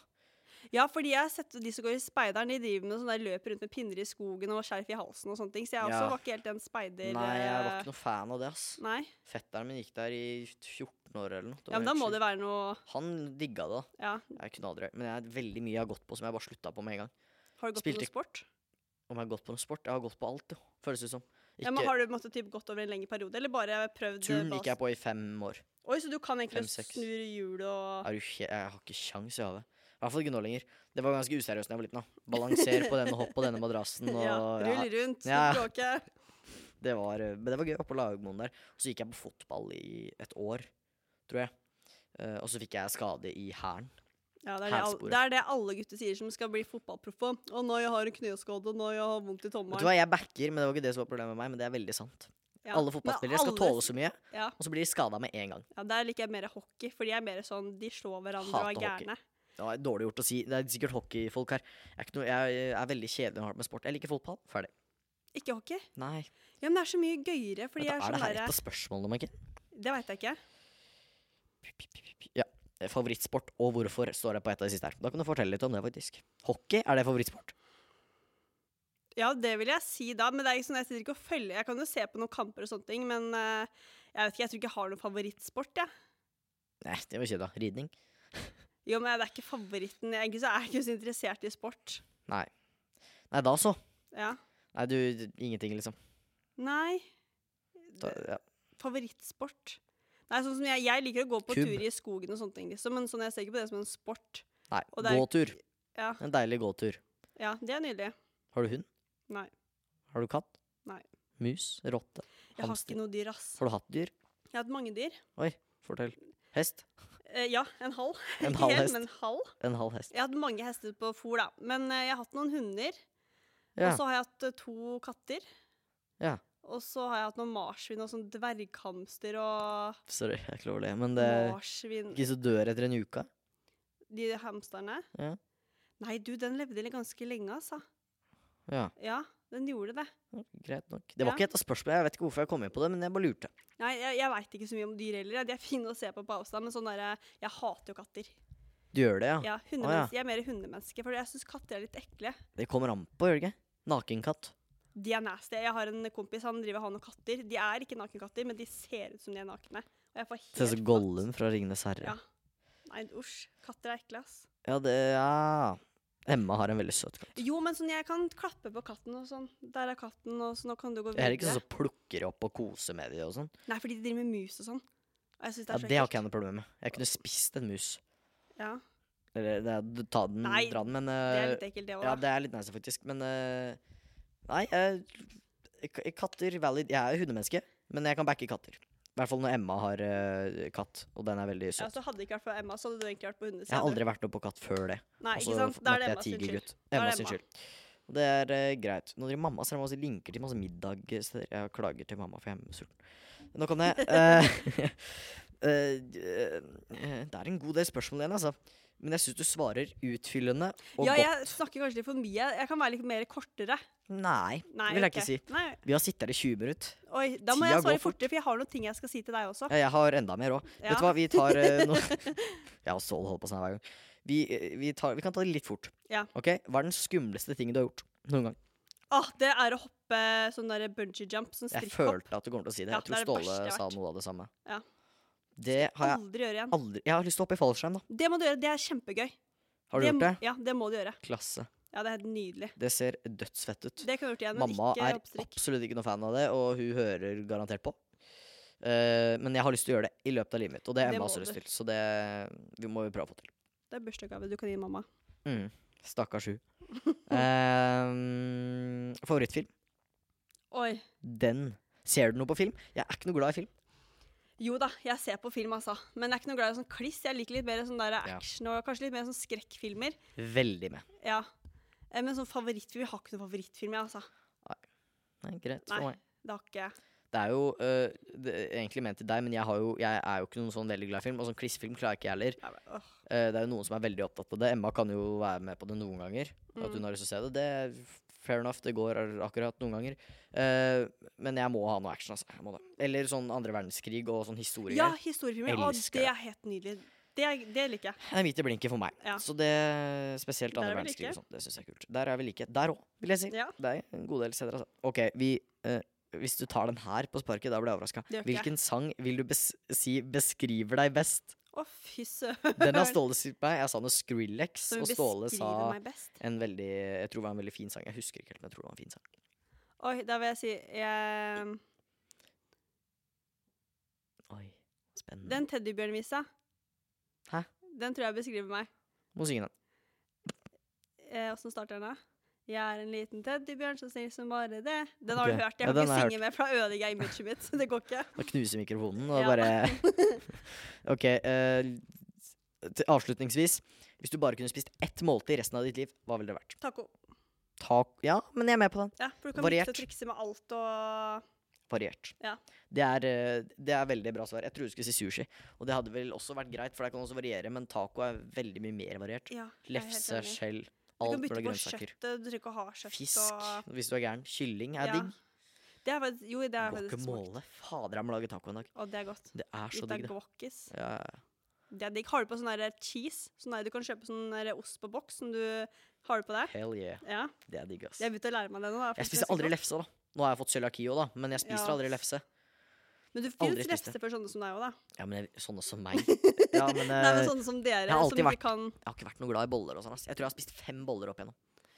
Speaker 2: Ja, fordi jeg har sett de som går i speideren, de driver med sånn der løper rundt med pinner i skogen og skjerf i halsen og sånne ting, så jeg også
Speaker 1: Ja.
Speaker 2: var ikke helt en speider...
Speaker 1: Nei, jeg var ikke noe fan av det, ass.
Speaker 2: eh, Nei,
Speaker 1: Fetteren min gikk der i 14 år eller noe. Det
Speaker 2: ja, men
Speaker 1: var
Speaker 2: da må
Speaker 1: helt
Speaker 2: det være noe...
Speaker 1: sjukt. Han digga det, da.
Speaker 2: Ja,
Speaker 1: Jeg kunne aldri Men jeg har veldig mye jeg har gått på som jeg bare slutta på med en gang.
Speaker 2: har du gått
Speaker 1: Spilte
Speaker 2: på noe sport?
Speaker 1: Om jeg har gått på noe sport? Jeg har gått på alt, jo. Føles det som. Ikke,
Speaker 2: Ja, men har du måttet typ gått over en lengre periode, eller bare prøvd...
Speaker 1: Turn gikk jeg på i fem år.
Speaker 2: Oi, så du kan egentlig
Speaker 1: Fem, seks.
Speaker 2: snu hjul og...
Speaker 1: Er du, he- jeg har ikke kjangs i havet. I hvert fall ikke nå lenger. Det var ganske useriøst da jeg var liten. da Balanser på denne, hopp på denne madrassen. Og,
Speaker 2: Ja,
Speaker 1: ja,
Speaker 2: rull rundt, snu
Speaker 1: Ja.
Speaker 2: bråke.
Speaker 1: det var, eh, men det var gøy oppe på Lagmoen der. Og så gikk jeg på fotball i et år, tror jeg. Eh, og så fikk jeg skade i hælen.
Speaker 2: Ja, det er det, alle,
Speaker 1: Hælsporet.
Speaker 2: det er det alle gutter sier som skal bli fotballproffe. Og nå jeg har en kneskade, og nå jeg har vondt i
Speaker 1: Vet du hva,
Speaker 2: tommelen.
Speaker 1: Jeg backer, men det var ikke det som var problemet med meg. Men det er veldig sant.
Speaker 2: Ja.
Speaker 1: Alle
Speaker 2: Men
Speaker 1: fotballspillere skal
Speaker 2: alle-
Speaker 1: tåle så mye,
Speaker 2: Ja.
Speaker 1: og så blir de skada med en gang.
Speaker 2: Ja, der liker jeg mer hockey, for de er mer sånn de slår hverandre og er
Speaker 1: Hater hockey.
Speaker 2: gærne.
Speaker 1: Det var dårlig gjort å si. Det er sikkert hockeyfolk her. Jeg er, ikke noe, jeg er veldig kjedelig og hardt med sport. Jeg liker fotball. Ferdig.
Speaker 2: Ikke hockey?
Speaker 1: Nei.
Speaker 2: Ja, men det er så mye gøyere, fordi
Speaker 1: Vent,
Speaker 2: jeg er
Speaker 1: er det
Speaker 2: sånn
Speaker 1: her et
Speaker 2: derre
Speaker 1: av spørsmålene, Maiken?
Speaker 2: Det veit jeg ikke.
Speaker 1: Ja. eh, Favorittsport og hvorfor står det på et av de siste her. Da kan du fortelle litt om det, faktisk. Hockey, er det favorittsport?
Speaker 2: Ja, det vil jeg si da, men det er ikke sånn, jeg sitter ikke og følger Jeg kan jo se på noen kamper og sånne ting, men eh, jeg vet ikke, jeg tror ikke jeg har noen favorittsport, jeg.
Speaker 1: Nei, det var ikke det. Ridning?
Speaker 2: Jo, men det er ikke favoritten. Egentlig så er jeg ikke så interessert i sport.
Speaker 1: Nei. Nei, da så.
Speaker 2: Ja.
Speaker 1: Nei, du Ingenting, liksom.
Speaker 2: Nei.
Speaker 1: Da, ja.
Speaker 2: favorittsport? Nei, sånn som jeg, jeg liker å gå på
Speaker 1: Kubb.
Speaker 2: tur i skogen og sånne ting, liksom, men sånn, jeg ser ikke på det som en sport.
Speaker 1: Nei,
Speaker 2: Og det er-
Speaker 1: gåtur.
Speaker 2: Ja.
Speaker 1: En deilig gåtur.
Speaker 2: Ja, det er nydelig.
Speaker 1: Har du hund?
Speaker 2: Nei.
Speaker 1: Har du katt?
Speaker 2: Nei.
Speaker 1: Mus? Rotte?
Speaker 2: Jeg har
Speaker 1: Hamster?
Speaker 2: ikke noe dyr, ass.
Speaker 1: Har du hatt dyr?
Speaker 2: Jeg har hatt mange dyr.
Speaker 1: Fortell. Hest?
Speaker 2: Eh, ja, en halv.
Speaker 1: En
Speaker 2: Ikke
Speaker 1: halv
Speaker 2: helt,
Speaker 1: hest?
Speaker 2: men halv.
Speaker 1: En halv hest.
Speaker 2: Jeg har hatt mange hester på fôr, da. Men eh, jeg har hatt noen hunder.
Speaker 1: Ja.
Speaker 2: Og så har jeg hatt eh, to katter.
Speaker 1: Ja.
Speaker 2: Og så har jeg hatt noen marsvin og sånn dverghamster og
Speaker 1: Sorry, jeg er ikke lov å le. Men det
Speaker 2: marsvin
Speaker 1: ikke så dør etter en uke.
Speaker 2: De hamsterne.
Speaker 1: Ja.
Speaker 2: Nei, du, den levde li- ganske lenge, altså.
Speaker 1: Ja,
Speaker 2: Ja, den gjorde det.
Speaker 1: ja, greit nok. Det var
Speaker 2: Ja.
Speaker 1: ikke et av spørsmålene. Jeg vet ikke hvorfor jeg kom inn på det, men jeg bare lurte.
Speaker 2: Nei, jeg, jeg veit ikke så mye om dyr heller. ja. De er fine å se på på avstand, men sånn derre Jeg hater jo katter.
Speaker 1: Du gjør det, ja?
Speaker 2: Ja,
Speaker 1: Ah. Å, ja.
Speaker 2: hundemenneske, Jeg er mer hundemenneske, for jeg syns katter er litt ekle.
Speaker 1: Det kommer an på, gjør det ikke? Nakenkatt.
Speaker 2: De er nasty. Jeg har en kompis, han driver han og katter. De er ikke nakenkatter, men de ser ut som de er nakne. Og jeg får
Speaker 1: Ser ut
Speaker 2: helt
Speaker 1: som
Speaker 2: natt.
Speaker 1: Gollum fra Ringenes
Speaker 2: Ja.
Speaker 1: herre.
Speaker 2: Nei, usj. Katter er ekle, ass.
Speaker 1: Ja, det Ja. Emma har en veldig søt katt.
Speaker 2: Jo, men sånn, jeg kan klappe på katten og sånn. Der er katten, og så nå kan du gå
Speaker 1: Jeg er
Speaker 2: videre.
Speaker 1: ikke sånn som plukker opp og koser med dem og sånn.
Speaker 2: Nei, fordi de driver med mus og sånn. Og jeg synes det
Speaker 1: Ja,
Speaker 2: er så
Speaker 1: det har
Speaker 2: ekkelt.
Speaker 1: ikke jeg noe problem med. Jeg kunne spist en mus.
Speaker 2: Ja,
Speaker 1: Eller det, er- ta den,
Speaker 2: Nei,
Speaker 1: dra den, men
Speaker 2: det er
Speaker 1: eh,
Speaker 2: litt ekkelt, det òg.
Speaker 1: Ja, det er litt nice, faktisk. Men eh, Nei, jeg- k- katter valid. Jeg er hundemenneske, men jeg kan backe katter. I hvert fall når Emma har eh, katt, og den er veldig
Speaker 2: Ja,
Speaker 1: søt.
Speaker 2: så hadde det ikke vært for Emma, så hadde du egentlig vært på hundesida.
Speaker 1: jeg har aldri vært oppe på katt før det.
Speaker 2: Nei,
Speaker 1: Og
Speaker 2: ikke
Speaker 1: så
Speaker 2: sant? Da er det
Speaker 1: møtte jeg
Speaker 2: Emma sin skyld.
Speaker 1: tigergutt.
Speaker 2: Da er
Speaker 1: Emma
Speaker 2: det
Speaker 1: sin
Speaker 2: Emma.
Speaker 1: skyld. Og det er eh, greit. Nå driver mamma og linker til masse middagsteder. Jeg klager til mamma, for jeg er sulten. Nok om det. Eh, eh, eh, det er en god del spørsmål igjen, altså. Men jeg syns du svarer utfyllende og
Speaker 2: Ja,
Speaker 1: godt.
Speaker 2: jeg snakker kanskje litt for mye. Jeg kan være litt mer kortere.
Speaker 1: Nei,
Speaker 2: Nei,
Speaker 1: det vil jeg ikke
Speaker 2: ok.
Speaker 1: si.
Speaker 2: Nei,
Speaker 1: Vi har sittet her i 20 minutter.
Speaker 2: oi, da må
Speaker 1: Tida
Speaker 2: jeg
Speaker 1: går
Speaker 2: svare
Speaker 1: fort.
Speaker 2: fortere, for jeg har noen ting jeg skal si til deg også.
Speaker 1: Ja, jeg har enda mer òg.
Speaker 2: Ja.
Speaker 1: Vet du hva, vi tar eh, nå Jeg og Ståle holder på sånn hver gang. Vi, eh, vi, tar, vi kan ta det litt fort.
Speaker 2: Ja.
Speaker 1: Ok? Hva er den skumleste tingen du har gjort noen gang?
Speaker 2: Åh, det er å hoppe sånn der bungee jump, sånn
Speaker 1: Jeg
Speaker 2: strikkhopp.
Speaker 1: følte at du kommer til å si det.
Speaker 2: Ja,
Speaker 1: Jeg tror
Speaker 2: det er det verste
Speaker 1: Ståle
Speaker 2: jeg har
Speaker 1: sa
Speaker 2: vært.
Speaker 1: noe av det samme.
Speaker 2: Ja.
Speaker 1: Det har jeg
Speaker 2: Aldri gjøre igjen.
Speaker 1: aldri Jeg har lyst til å hoppe i fallskjerm, da.
Speaker 2: Det må du gjøre. Det er kjempegøy.
Speaker 1: Har du
Speaker 2: det,
Speaker 1: gjort det?
Speaker 2: Ja, det må du gjøre.
Speaker 1: Klasse.
Speaker 2: Ja, det er helt nydelig.
Speaker 1: Det ser dødsfett ut.
Speaker 2: Det kan du gjort igjen, men
Speaker 1: Mamma
Speaker 2: ikke
Speaker 1: er
Speaker 2: hoppstrikk.
Speaker 1: absolutt ikke noe fan av det, og hun hører garantert på. Eh, men jeg har lyst til å gjøre det i løpet av livet mitt, og det har
Speaker 2: Det
Speaker 1: Emma
Speaker 2: må
Speaker 1: også
Speaker 2: du.
Speaker 1: lyst til. Så det vi må vi prøve å få til.
Speaker 2: Det er bursdagsgave du kan gi mamma.
Speaker 1: Mm. Stakkars hun. Ehm, favorittfilm?
Speaker 2: Oi.
Speaker 1: Den. Ser du noe på film? Jeg er ikke noe glad i film.
Speaker 2: Jo da, jeg ser på film, altså. Men jeg er ikke noe glad i sånn kliss. Jeg liker litt mer sånn der
Speaker 1: Ja.
Speaker 2: action og kanskje litt mer sånn skrekkfilmer.
Speaker 1: Veldig med.
Speaker 2: Ja. Eh, Men sånn favorittfilm Jeg har ikke noen favorittfilm, jeg, altså.
Speaker 1: Nei, greit
Speaker 2: Nei.
Speaker 1: for meg.
Speaker 2: Det har ikke jeg.
Speaker 1: Det er jo øh, det er egentlig ment til deg, men jeg, har jo, jeg er jo ikke noen sånn veldig glad i film. Og sånn klissfilm klarer jeg ikke jeg heller.
Speaker 2: jeg bare, åh.
Speaker 1: Eh, det er jo noen som er veldig opptatt av det. Emma kan jo være med på det noen ganger. At
Speaker 2: Mm.
Speaker 1: hun har lyst til å se det. Det er fair enough. Det går akkurat noen ganger. Eh, men jeg må ha noe action, altså. Jeg må det. Eller sånn andre verdenskrig og sånn historier.
Speaker 2: Ja, historiefilmer. Å,
Speaker 1: Elsker
Speaker 2: det er helt nydelig. Det, er- det liker jeg.
Speaker 1: Det er midt i blinken for meg.
Speaker 2: Ja.
Speaker 1: Så det Spesielt
Speaker 2: Der er
Speaker 1: andre
Speaker 2: vi
Speaker 1: verdenskrig
Speaker 2: like.
Speaker 1: og sånt. Det syns jeg er kult. Der er vi like. Der òg, vil jeg si.
Speaker 2: Ja.
Speaker 1: Det er en god del steder, altså. OK, vi eh, Hvis du tar den her på sparket, da blir jeg overraska.
Speaker 2: Det gjør ikke jeg.
Speaker 1: Hvilken sang vil du bes si beskriver deg best?
Speaker 2: Å, fy søren.
Speaker 1: Den har Ståle sagt meg. Jeg sa noe Skrillex,
Speaker 2: Som
Speaker 1: og Ståle sa
Speaker 2: beskriver meg best.
Speaker 1: en veldig Jeg tror det var en veldig fin sang. Jeg husker ikke helt, men jeg tror det var en fin sang.
Speaker 2: Oi, da vil jeg si eh,
Speaker 1: Oi, spennende.
Speaker 2: Den teddybjørnvisa.
Speaker 1: Hæ?
Speaker 2: Den tror jeg beskriver meg.
Speaker 1: Må synge den.
Speaker 2: Eh, Åssen starter den, da? Jeg er en liten teddybjørn så snill som bare det. Den har
Speaker 1: Ok.
Speaker 2: du hørt.
Speaker 1: Ja,
Speaker 2: Jeg kan
Speaker 1: den
Speaker 2: ikke
Speaker 1: har jeg
Speaker 2: synge mer, for da ødelegger jeg imaget mitt. Det går ikke.
Speaker 1: Da knuser mikrofonen, og
Speaker 2: Ja.
Speaker 1: bare OK. eh, til, avslutningsvis, hvis du bare kunne spist ett måltid resten av ditt liv, hva ville det vært?
Speaker 2: Taco.
Speaker 1: Ta, ja, men jeg er med på den.
Speaker 2: Ja, for du kan
Speaker 1: Variert.
Speaker 2: mikse og trikse med alt og
Speaker 1: Variert.
Speaker 2: Ja.
Speaker 1: Det, er, eh, det er veldig bra svar. Jeg trodde du skulle si sushi. Og det hadde vel også vært greit, for det kan også variere, men taco er veldig mye mer variert.
Speaker 2: Ja, jeg er helt
Speaker 1: Lefse,
Speaker 2: enig.
Speaker 1: skjell,
Speaker 2: Du
Speaker 1: alt
Speaker 2: kan bytte
Speaker 1: mulig
Speaker 2: på
Speaker 1: grønnsaker.
Speaker 2: kjøttet, du trenger ikke å ha kjøtt
Speaker 1: Fisk,
Speaker 2: og
Speaker 1: hvis du er gæren. Kylling er
Speaker 2: Ja,
Speaker 1: digg.
Speaker 2: det er faktisk, Jo, det er faktisk smakt.
Speaker 1: Guacamole. Fader, jeg må lage taco en dag.
Speaker 2: Og det er godt.
Speaker 1: Det er så
Speaker 2: Litt av
Speaker 1: digg, det.
Speaker 2: guacis.
Speaker 1: Ja, ja, ja.
Speaker 2: Det er digg. Har du på sånn der cheese? Sånn der, du kan kjøpe sånn der ost på boks som du har du på deg?
Speaker 1: Hell yeah.
Speaker 2: Ja.
Speaker 1: Det er digg, ass.
Speaker 2: Jeg begynte å lære meg det nå. da, for
Speaker 1: Jeg
Speaker 2: det er
Speaker 1: spiser
Speaker 2: så
Speaker 1: aldri
Speaker 2: godt.
Speaker 1: lefse, da. Nå har jeg fått cøliaki òg, da, men jeg spiser
Speaker 2: Ja.
Speaker 1: aldri lefse.
Speaker 2: Men du
Speaker 1: aldri
Speaker 2: fins
Speaker 1: spist det.
Speaker 2: lefse for sånne som deg òg, da.
Speaker 1: Ja, men jeg, sånne som meg. Ja, men,
Speaker 2: Nei, men
Speaker 1: eh,
Speaker 2: sånne som dere,
Speaker 1: jeg har
Speaker 2: som
Speaker 1: alltid
Speaker 2: ikke
Speaker 1: vært-
Speaker 2: kan
Speaker 1: Jeg har ikke vært noe glad i boller og sånn. ass. Jeg tror jeg har spist fem boller opp igjennom.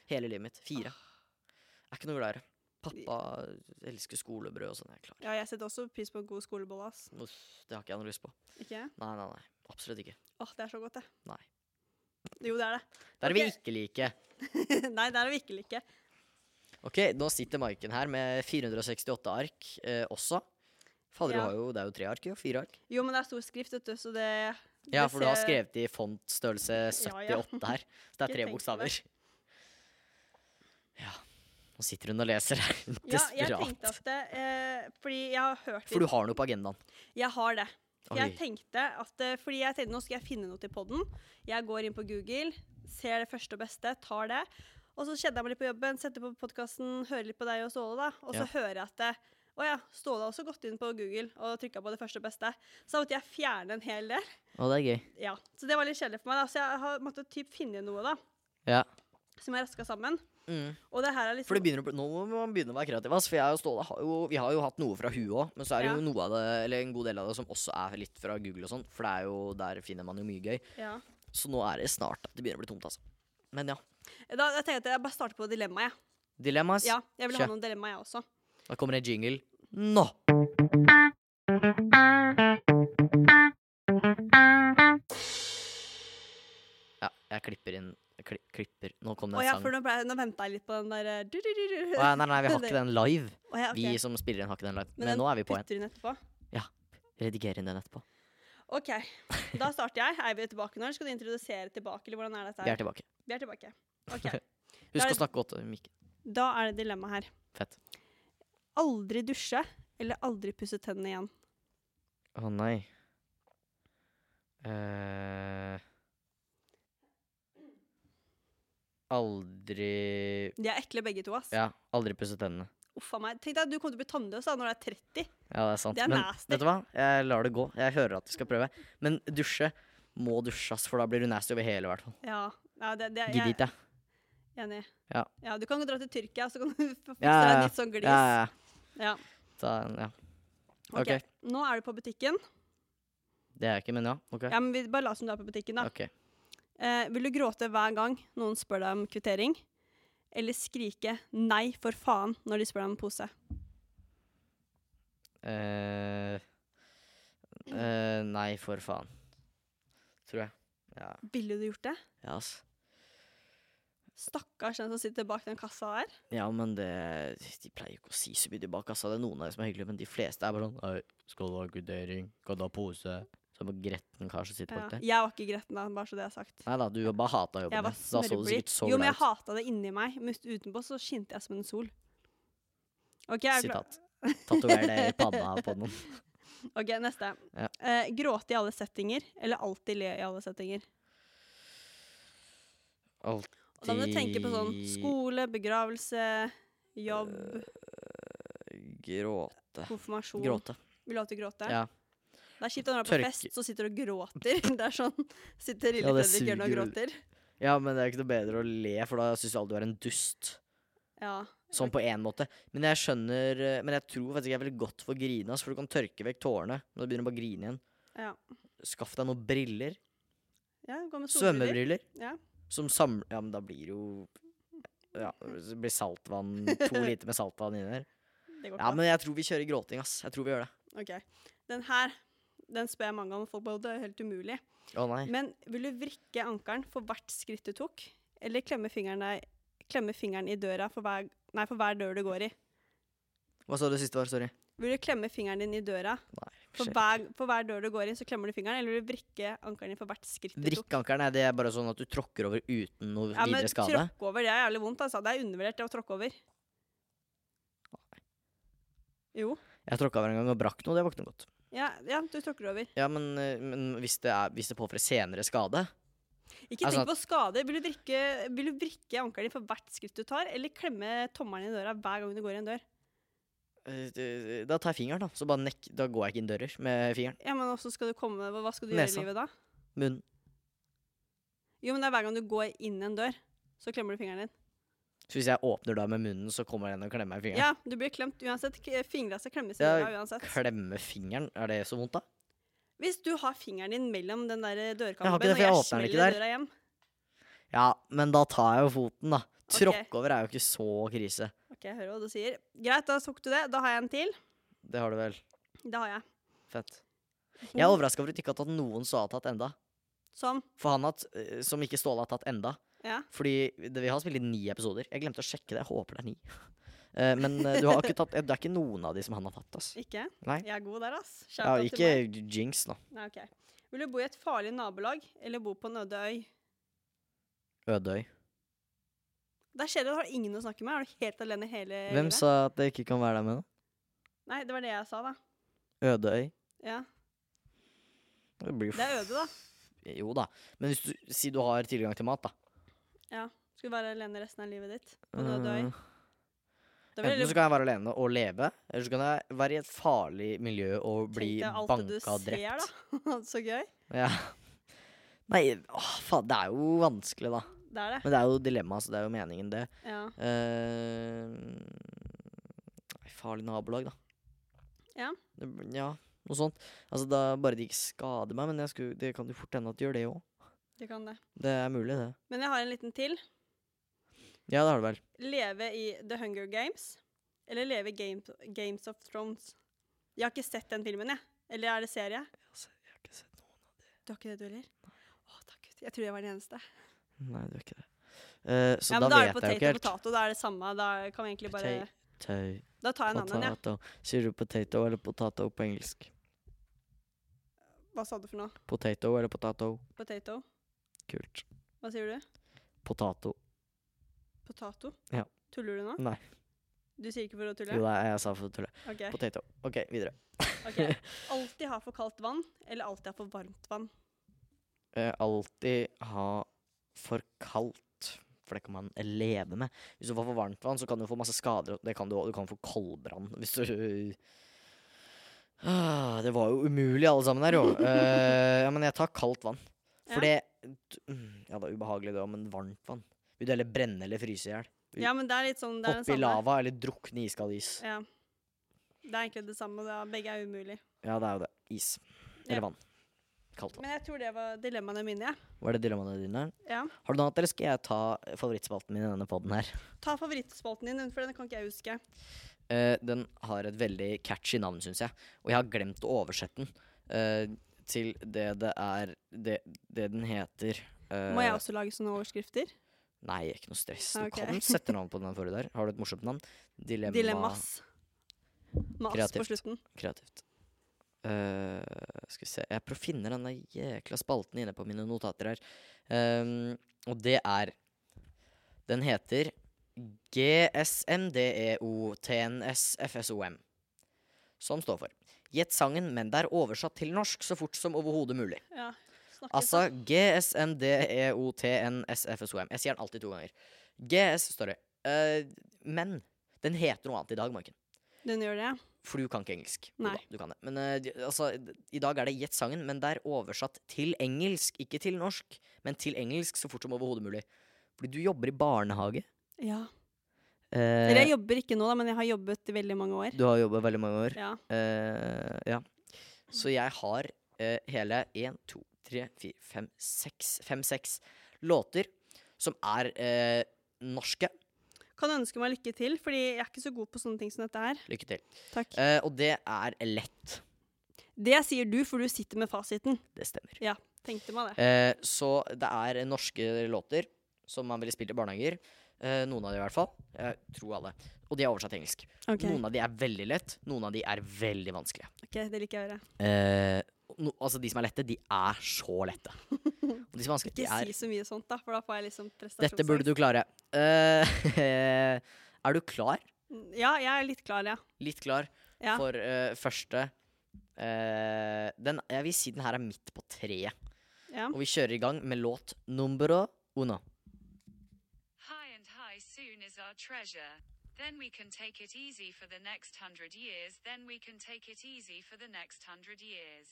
Speaker 1: Hele livet mitt. Fire. Jeg er ikke noe glad i det. Pappa elsker skolebrød og sånn. Jeg er klar.
Speaker 2: Ja, jeg setter også pris på en god skolebolle, ass.
Speaker 1: Uff, det har ikke jeg noe lyst på.
Speaker 2: Ikke?
Speaker 1: Nei, nei, nei. Absolutt ikke.
Speaker 2: Åh, det er så godt, det.
Speaker 1: Nei.
Speaker 2: Jo, det er det.
Speaker 1: Der er
Speaker 2: Ok.
Speaker 1: vi ikke like.
Speaker 2: Nei, det er det virkelig ikke.
Speaker 1: Ok, nå sitter Maiken her med 468 ark eh, også. Fader, du
Speaker 2: Ja.
Speaker 1: har jo, det er jo tre ark, jo. Fire ark.
Speaker 2: Jo, men det er stor skrift, vet du, så det
Speaker 1: Ja,
Speaker 2: det
Speaker 1: for du har
Speaker 2: ser-
Speaker 1: skrevet i fontstørrelse
Speaker 2: Ja, ja.
Speaker 1: 78 her. Så det
Speaker 2: Ikke
Speaker 1: er tre
Speaker 2: tenk på
Speaker 1: bokstaver. Ja. Nå Nå sitter hun og leser her,
Speaker 2: Ja, jeg
Speaker 1: desperat.
Speaker 2: tenkte at det, eh, Fordi jeg har hørt
Speaker 1: For du har noe på agendaen.
Speaker 2: Jeg har det. Jeg
Speaker 1: Oi.
Speaker 2: tenkte at, eh, fordi jeg tenkte nå skal jeg finne noe til podden. Jeg går inn på Google, ser det første og beste, tar det. Og så kjenner jeg meg litt på jobben, setter på podkasten, hører litt på deg og Ståle, da. Og
Speaker 1: Ja.
Speaker 2: så hører jeg at det, å ja, Ståle har også gått inn på Google og trykka på det første og beste. Så da måtte jeg fjerne en hel del.
Speaker 1: Å, det er gøy.
Speaker 2: Ja, Så det var litt kjedelig for meg. da. Så jeg har måttet typ finne noe da,
Speaker 1: Ja.
Speaker 2: som jeg raska sammen.
Speaker 1: Mm.
Speaker 2: Og det her er
Speaker 1: For det
Speaker 2: liksom
Speaker 1: begynner å bli, Nå må man begynne å være kreativ. ass, For jeg og Ståle har jo, vi har jo hatt noe fra huet òg, men så er det
Speaker 2: Ja.
Speaker 1: jo noe av det, eller en god del av det som også er litt fra Google og sånn, for det er jo, der finner man jo mye gøy.
Speaker 2: ja.
Speaker 1: Så nå er det snart at det begynner å bli tomt, altså. Men ja.
Speaker 2: Da jeg tenkte jeg bare starter på dilemmaet, jeg.
Speaker 1: Dilemmas.
Speaker 2: Ja, jeg vil ha
Speaker 1: Kjør.
Speaker 2: noen dilemmaer, jeg også.
Speaker 1: Da kommer det en jingle nå. Ja, jeg klipper inn jeg kli, Klipper Nå kom
Speaker 2: Å
Speaker 1: det
Speaker 2: ja,
Speaker 1: en
Speaker 2: for
Speaker 1: sang.
Speaker 2: nå, ble, nå venta jeg litt på den der eh, du, du, du, du.
Speaker 1: Å, ja, nei, nei, vi har ikke den live.
Speaker 2: Å ja, ok.
Speaker 1: Vi som spiller inn, har ikke den live.
Speaker 2: Men
Speaker 1: Men,
Speaker 2: den
Speaker 1: nå er vi på en.
Speaker 2: Putter hun etterpå.
Speaker 1: Rediger inn den etterpå.
Speaker 2: OK, da starter jeg. Er vi tilbake nå, eller skal du introdusere tilbake? Eller hvordan er
Speaker 1: Vi
Speaker 2: dette her?
Speaker 1: er tilbake.
Speaker 2: Vi er tilbake. Ok,
Speaker 1: Husk
Speaker 2: er
Speaker 1: å snakke godt. Mikk.
Speaker 2: Da er det dilemma her.
Speaker 1: Fett.
Speaker 2: Aldri dusje eller aldri pusse tennene igjen.
Speaker 1: Å nei. Eh, aldri
Speaker 2: De er ekle begge to, ass.
Speaker 1: Ja, aldri pusse tennene.
Speaker 2: Uff a meg. Tenk deg at du kommer til å bli tannløs da når du er 30.
Speaker 1: Ja, det er sant.
Speaker 2: Det er
Speaker 1: Men
Speaker 2: nasty.
Speaker 1: vet du hva? Jeg lar det gå. Jeg hører at du skal prøve. Men dusje må dusjes, for da blir du nasty over hele, i hvert fall.
Speaker 2: Ja, ja det, det
Speaker 1: Gidder
Speaker 2: jeg
Speaker 1: ikke.
Speaker 2: er enig.
Speaker 1: Ja.
Speaker 2: du kan jo dra til Tyrkia, så kan du få få
Speaker 1: Ja, ja,
Speaker 2: deg
Speaker 1: ja.
Speaker 2: litt sånn glis.
Speaker 1: Ja, ja, ja.
Speaker 2: Ja.
Speaker 1: Da- ja.
Speaker 2: Ok.
Speaker 1: OK.
Speaker 2: Nå er du på butikken.
Speaker 1: Det er jeg ikke, men ja. OK.
Speaker 2: Ja, men vi Bare la som du er på butikken, da.
Speaker 1: Ok.
Speaker 2: Eh, vil du gråte hver gang noen spør deg om kvittering? Eller skrike 'nei, for faen' når de spør deg om en pose?
Speaker 1: Eh, eh, nei, for faen. Tror jeg. Ja,
Speaker 2: Ville du gjort det?
Speaker 1: ja ass.
Speaker 2: Stakkars den som sitter bak den kassa der.
Speaker 1: Ja, men det De pleier jo ikke å si så mye tilbake. Altså, det er noen av dem som er hyggelige, men de fleste er bare sånn Oi, skal du ha gudering? Skal du ha pose? Som en gretten kar som sitter
Speaker 2: Ja.
Speaker 1: bak der.
Speaker 2: Jeg var ikke gretten, da, bare så det er sagt.
Speaker 1: Nei da, du bare hata
Speaker 2: Jeg
Speaker 1: jobben
Speaker 2: var
Speaker 1: din. Da så du
Speaker 2: smørblid.
Speaker 1: sikkert så
Speaker 2: Jo, men
Speaker 1: glad
Speaker 2: jeg
Speaker 1: ut.
Speaker 2: hata det inni meg, men utenpå så skinte jeg som en sol. Ok, er du klar?
Speaker 1: Sitat. Tatover det i panna på noen.
Speaker 2: Ok, neste.
Speaker 1: Ja.
Speaker 2: Eh, gråte i alle settinger, eller alltid le i alle settinger?
Speaker 1: Alt
Speaker 2: Og da må du tenke på sånn
Speaker 1: De-
Speaker 2: skole, begravelse, jobb,
Speaker 1: Øh, gråte.
Speaker 2: konfirmasjon.
Speaker 1: Gråte.
Speaker 2: Vil du alltid gråte?
Speaker 1: Ja.
Speaker 2: Det er kjipt når du er på
Speaker 1: Tørke.
Speaker 2: fest, så sitter du og gråter. Det er sånn, Sitter lille
Speaker 1: Ja, det
Speaker 2: Fredrik i hjørnet og
Speaker 1: suger.
Speaker 2: gråter.
Speaker 1: ja, men det er jo ikke noe bedre å le, for da syns jo alle du er en dust.
Speaker 2: Ja.
Speaker 1: Sånn på én måte. Men jeg skjønner eh, Men jeg tror faktisk jeg er veldig godt for å grine, ass, for du kan tørke vekk tårene. Men da begynner du bare å grine igjen.
Speaker 2: ja.
Speaker 1: Skaff deg noen briller.
Speaker 2: ja gå med solbriller.
Speaker 1: Svømmebriller.
Speaker 2: Ja.
Speaker 1: Som samler Ja, men da blir det jo ja, det blir saltvann To liter med saltvann inni der.
Speaker 2: Det går
Speaker 1: Ja,
Speaker 2: ikke.
Speaker 1: men jeg tror vi kjører gråting, ass. Jeg tror vi gjør det.
Speaker 2: an. Ok. Den her den spør jeg mange om, folk bare det er helt umulig.
Speaker 1: Å nei.
Speaker 2: Men vil du vrikke ankelen for hvert skritt du tok, eller klemme fingeren, deg, klemme fingeren i døra for hver, nei, for hver dør du går i?
Speaker 1: Hva sa du siste var? Sorry.
Speaker 2: Vil du klemme fingeren din i døra
Speaker 1: Nei,
Speaker 2: for
Speaker 1: shit.
Speaker 2: hver, for hver dør du går i, så klemmer du fingeren, eller vil du vrikke ankelen din for hvert skritt du tok?
Speaker 1: Drikkeankeren er det er bare sånn at du tråkker over uten noe
Speaker 2: Ja, men
Speaker 1: videre skade.
Speaker 2: tråkke over, det er jævlig vondt, altså. Det er undervurdert det å tråkke over. Jo.
Speaker 1: Jeg tråkka over en gang og brakk noe, det våkner godt.
Speaker 2: Ja, ja, du tråkker over.
Speaker 1: Ja, men, eh, men hvis, det er, hvis det påfører senere skade
Speaker 2: Ikke
Speaker 1: Altså
Speaker 2: tenk på skade. Vil du vrikke, vil du vrikke ankelen din for hvert skritt du tar, eller klemme tommelen i døra hver gang du går i en dør?
Speaker 1: eh, det- Da tar jeg fingeren, da. Så bare nekk, da går jeg ikke inn dører med fingeren.
Speaker 2: Ja, men også skal du komme Hva hva skal du
Speaker 1: Nesa.
Speaker 2: gjøre i livet da?
Speaker 1: Munn.
Speaker 2: Jo, men det er hver gang du går inn en dør, så klemmer du fingeren din.
Speaker 1: Så hvis jeg åpner da med munnen, så kommer den og klemmer meg i fingeren.
Speaker 2: Ja, du blir klemt uansett. K- Fingra skal klemmes i
Speaker 1: Ja,
Speaker 2: døra uansett.
Speaker 1: Klemme fingeren, er det så vondt, da?
Speaker 2: Hvis du har fingeren din mellom den der
Speaker 1: Jeg har ikke
Speaker 2: dørkampen,
Speaker 1: det,
Speaker 2: og
Speaker 1: for jeg
Speaker 2: jeg
Speaker 1: åpner den ikke
Speaker 2: smeller
Speaker 1: der.
Speaker 2: døra igjen
Speaker 1: Ja, men da tar jeg jo foten, da.
Speaker 2: Ok.
Speaker 1: Tråkke over er jo ikke så krise.
Speaker 2: Ok, jeg hører hva du sier. Greit, da tok du det. Da har jeg en til.
Speaker 1: Det har du vel.
Speaker 2: Det har jeg.
Speaker 1: Fett. Jeg er overraska over at ikke har tatt noen så har tatt enda.
Speaker 2: Sånn.
Speaker 1: For han har hatt, eh, som ikke Ståle har tatt enda.
Speaker 2: Ja.
Speaker 1: Fordi det, vi har spilt inn ni episoder. Jeg glemte å sjekke det. Jeg håper det er ni. Eh, men eh, du har ikke tatt, eh, det er ikke noen av de som han har tatt. Altså.
Speaker 2: Ikke?
Speaker 1: Nei.
Speaker 2: Jeg er god der, ass. Shout
Speaker 1: Ja,
Speaker 2: out til
Speaker 1: ikke
Speaker 2: meg.
Speaker 1: jinx, nå.
Speaker 2: Nei, ok. Vil du bo i et farlig nabolag, eller bo på en øde øy?
Speaker 1: Ødøy.
Speaker 2: Der skjer det, da har du ingen å snakke med. Er du helt alene hele
Speaker 1: Hvem
Speaker 2: livet?
Speaker 1: sa at det ikke kan være der med noe?
Speaker 2: Nei, det var det jeg sa, da.
Speaker 1: Øde øy?
Speaker 2: Ja.
Speaker 1: Det blir jo
Speaker 2: Det er øde, da.
Speaker 1: f- Jo da. Men hvis du si du har tilgang til mat, da.
Speaker 2: Skulle være alene resten av livet ditt. Og nå dør
Speaker 1: Eh,
Speaker 2: jeg. Da vil
Speaker 1: Enten
Speaker 2: jeg
Speaker 1: så kan jeg være alene og leve, eller så kan jeg være i et farlig miljø og bli
Speaker 2: tenke deg alt det du
Speaker 1: banka og
Speaker 2: ser,
Speaker 1: drept.
Speaker 2: da. Så gøy.
Speaker 1: Ja. Nei, åh, faen, det er jo vanskelig, da.
Speaker 2: Det er det.
Speaker 1: Men det er jo dilemma, så det er jo meningen, det.
Speaker 2: Ja.
Speaker 1: Eh, farlig nabolag, da.
Speaker 2: Ja.
Speaker 1: Det, bl- ja, noe sånt. Altså, da Bare de ikke skader meg, men jeg skulle, det kan jo fort hende at de gjør det òg.
Speaker 2: Det kan det.
Speaker 1: Det er mulig, det.
Speaker 2: Men jeg har en liten til.
Speaker 1: Ja, det har du vel.
Speaker 2: Leve i The Hunger Games. Eller leve i Games, Games of Thrones. Jeg har ikke sett den filmen, jeg. Eller er det serie?
Speaker 1: Jeg har ikke sett noen av
Speaker 2: Du har ikke det, du heller? Å, takk Gud. Jeg tror jeg var den eneste.
Speaker 1: Nei, du har ikke det. Eh, så da,
Speaker 2: ja, men da er det
Speaker 1: vet jeg jo
Speaker 2: potato
Speaker 1: ikke
Speaker 2: og
Speaker 1: helt.
Speaker 2: potato. Da er det samme. Da kan vi egentlig bare
Speaker 1: Potato, Tau,
Speaker 2: Da tar jeg en annen, ja.
Speaker 1: potato. Sier du potato eller potato på engelsk?
Speaker 2: Hva sa du for noe?
Speaker 1: Potato eller potato?
Speaker 2: Potato?
Speaker 1: Kult.
Speaker 2: Hva sier du?
Speaker 1: Potato.
Speaker 2: Potato?
Speaker 1: Ja.
Speaker 2: Tuller du nå?
Speaker 1: Nei.
Speaker 2: Du sier ikke for å tulle?
Speaker 1: Jo, nei, jeg sa for å tulle.
Speaker 2: Ok.
Speaker 1: Potato. OK, videre.
Speaker 2: ok. Alltid ha for kaldt vann, eller alltid ha for varmt vann?
Speaker 1: Eh, alltid ha for kaldt, for det kan man leve med. Hvis du får for varmt vann, så kan du få masse skader. og Det kan du òg. Du kan få koldbrann hvis du ah, Det var jo umulig, alle sammen her, jo. Eh, ja, men jeg tar kaldt vann. For det mm, Ja, det er ubehagelig, det òg, men varmt vann. Vil du heller brenne eller fryse i hjel?
Speaker 2: Ja, men det er litt sånn det er den
Speaker 1: Hoppe i
Speaker 2: samme.
Speaker 1: lava eller drukne i iskald is?
Speaker 2: Ja. Det er egentlig det samme. Det er, begge er umulig.
Speaker 1: Ja, det er jo det. Is.
Speaker 2: Ja.
Speaker 1: Eller vann. Kaldt vann.
Speaker 2: Men jeg tror det var dilemmaene mine, jeg.
Speaker 1: Var det dilemmaene dine?
Speaker 2: Ja.
Speaker 1: Har du noe annet, eller skal jeg ta favorittspalten min i denne podden her?
Speaker 2: Ta favorittspalten din, for den kan ikke jeg huske.
Speaker 1: Eh, den har et veldig catchy navn, syns jeg. Og jeg har glemt å oversette den eh, til det det er Det, det den heter. eh,
Speaker 2: Må jeg også lage sånne overskrifter?
Speaker 1: Nei, ikke noe stress. Du
Speaker 2: Ok.
Speaker 1: kan sette navn på den forrige der. Har du et morsomt navn? Dilemma
Speaker 2: Dilemmas. Mas på
Speaker 1: Kreativt.
Speaker 2: slutten.
Speaker 1: Kreativt. Eh, skal vi se Jeg prøver å finne denne jækla spalten inne på mine notater her. Ehm, og det er Den heter E GSMDEOTNSFSOM. Som står for Gjett sangen, men det er oversatt til norsk så fort som overhodet mulig.
Speaker 2: Ja. sånn. Snakkes
Speaker 1: Altså E GSMDEOTNSFSOM. Jeg sier den alltid to ganger. GS står det. Eh, men den heter noe annet i dag, Marken.
Speaker 2: Den gjør det.
Speaker 1: For du kan ikke engelsk. Jo
Speaker 2: Nei.
Speaker 1: Da, du kan det. Men eh, d- altså, d- i dag er det Gjett sangen, men det er oversatt til engelsk. Ikke til norsk, men til engelsk så fort som overhodet mulig. Fordi du jobber i barnehage.
Speaker 2: Ja.
Speaker 1: Eh,
Speaker 2: Eller jeg jobber ikke nå, da, men jeg har jobbet i veldig mange år.
Speaker 1: du har jobba veldig mange år.
Speaker 2: Ja.
Speaker 1: Eh, ja. Så jeg har eh, hele én, to, tre, fire, fem, seks Fem-seks låter som er eh, norske.
Speaker 2: Kan ønske meg lykke til, fordi jeg er ikke så god på sånne ting som dette her.
Speaker 1: Lykke til.
Speaker 2: Takk.
Speaker 1: Eh, og det er lett.
Speaker 2: Det sier du, for du sitter med fasiten.
Speaker 1: Det stemmer.
Speaker 2: Tenkte meg det.
Speaker 1: Eh, så det er norske låter som man ville spilt i barnehager. Eh, noen av de i hvert fall. Jeg tror alle. Og de er oversatt til engelsk.
Speaker 2: Ok,
Speaker 1: Noen av de er veldig lett, noen av de er veldig vanskelige.
Speaker 2: Mm. ok, det liker jeg å høre.
Speaker 1: Eh, no, altså de som er lette, de er så lette. Og de som er vanskelige, de
Speaker 2: Ikke
Speaker 1: er
Speaker 2: si så mye sånt, da, for da får jeg liksom prestasjonsangst.
Speaker 1: Dette burde du klare. Eh, er du klar?
Speaker 2: Mm, Ja, jeg er litt klar, ja.
Speaker 1: Litt klar
Speaker 2: Ja.
Speaker 1: for eh, første eh, den, Jeg vil si den her er midt på treet.
Speaker 2: ja.
Speaker 1: Og vi kjører i gang med låt numero uno.
Speaker 3: High and high soon is our treasure. Then we can take it easy for the next hundred years. Then we can take it easy for the next hundred years.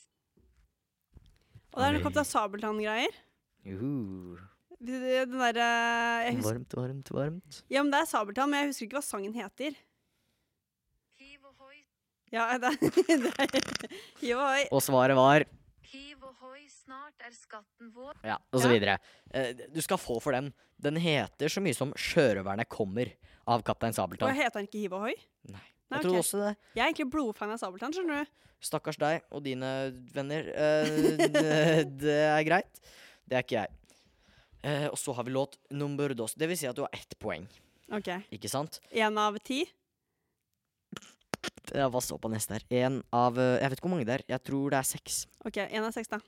Speaker 2: Og det er
Speaker 1: Oi.
Speaker 2: noe Kaptein Sabeltann-greier.
Speaker 1: Juhu.
Speaker 2: Den derre jeg husker-
Speaker 1: Varmt, varmt, varmt.
Speaker 2: Ja, men det er Sabeltann, men jeg husker ikke hva sangen heter.
Speaker 3: Hiv ohoi,
Speaker 2: Ja, det er, det er Jo, oi.
Speaker 1: Og svaret var
Speaker 3: hiv ohoi, snart er skatten vår.
Speaker 1: Ja, og så
Speaker 2: Ja.
Speaker 1: videre. Eh, du skal få for den. Den heter så mye som 'Sjørøverne kommer' av Kaptein
Speaker 2: Og
Speaker 1: Sabeltann.
Speaker 2: heter han ikke Hiv ohoi?
Speaker 1: Nei.
Speaker 2: Nei,
Speaker 1: Jeg trodde
Speaker 2: ok.
Speaker 1: også det.
Speaker 2: Jeg er egentlig blodfan av Sabeltann, skjønner du.
Speaker 1: Stakkars deg og dine venner. Eh, det, det er greit. Det er ikke jeg. Eh, og så har vi låt nummer dos. Det vil si at du har ett poeng,
Speaker 2: Ok,
Speaker 1: ikke sant?
Speaker 2: Én av ti.
Speaker 1: Ja, Hva står på neste her? En av eh, Jeg vet ikke hvor mange det er. Jeg tror det er seks.
Speaker 2: Ok, én av seks, da.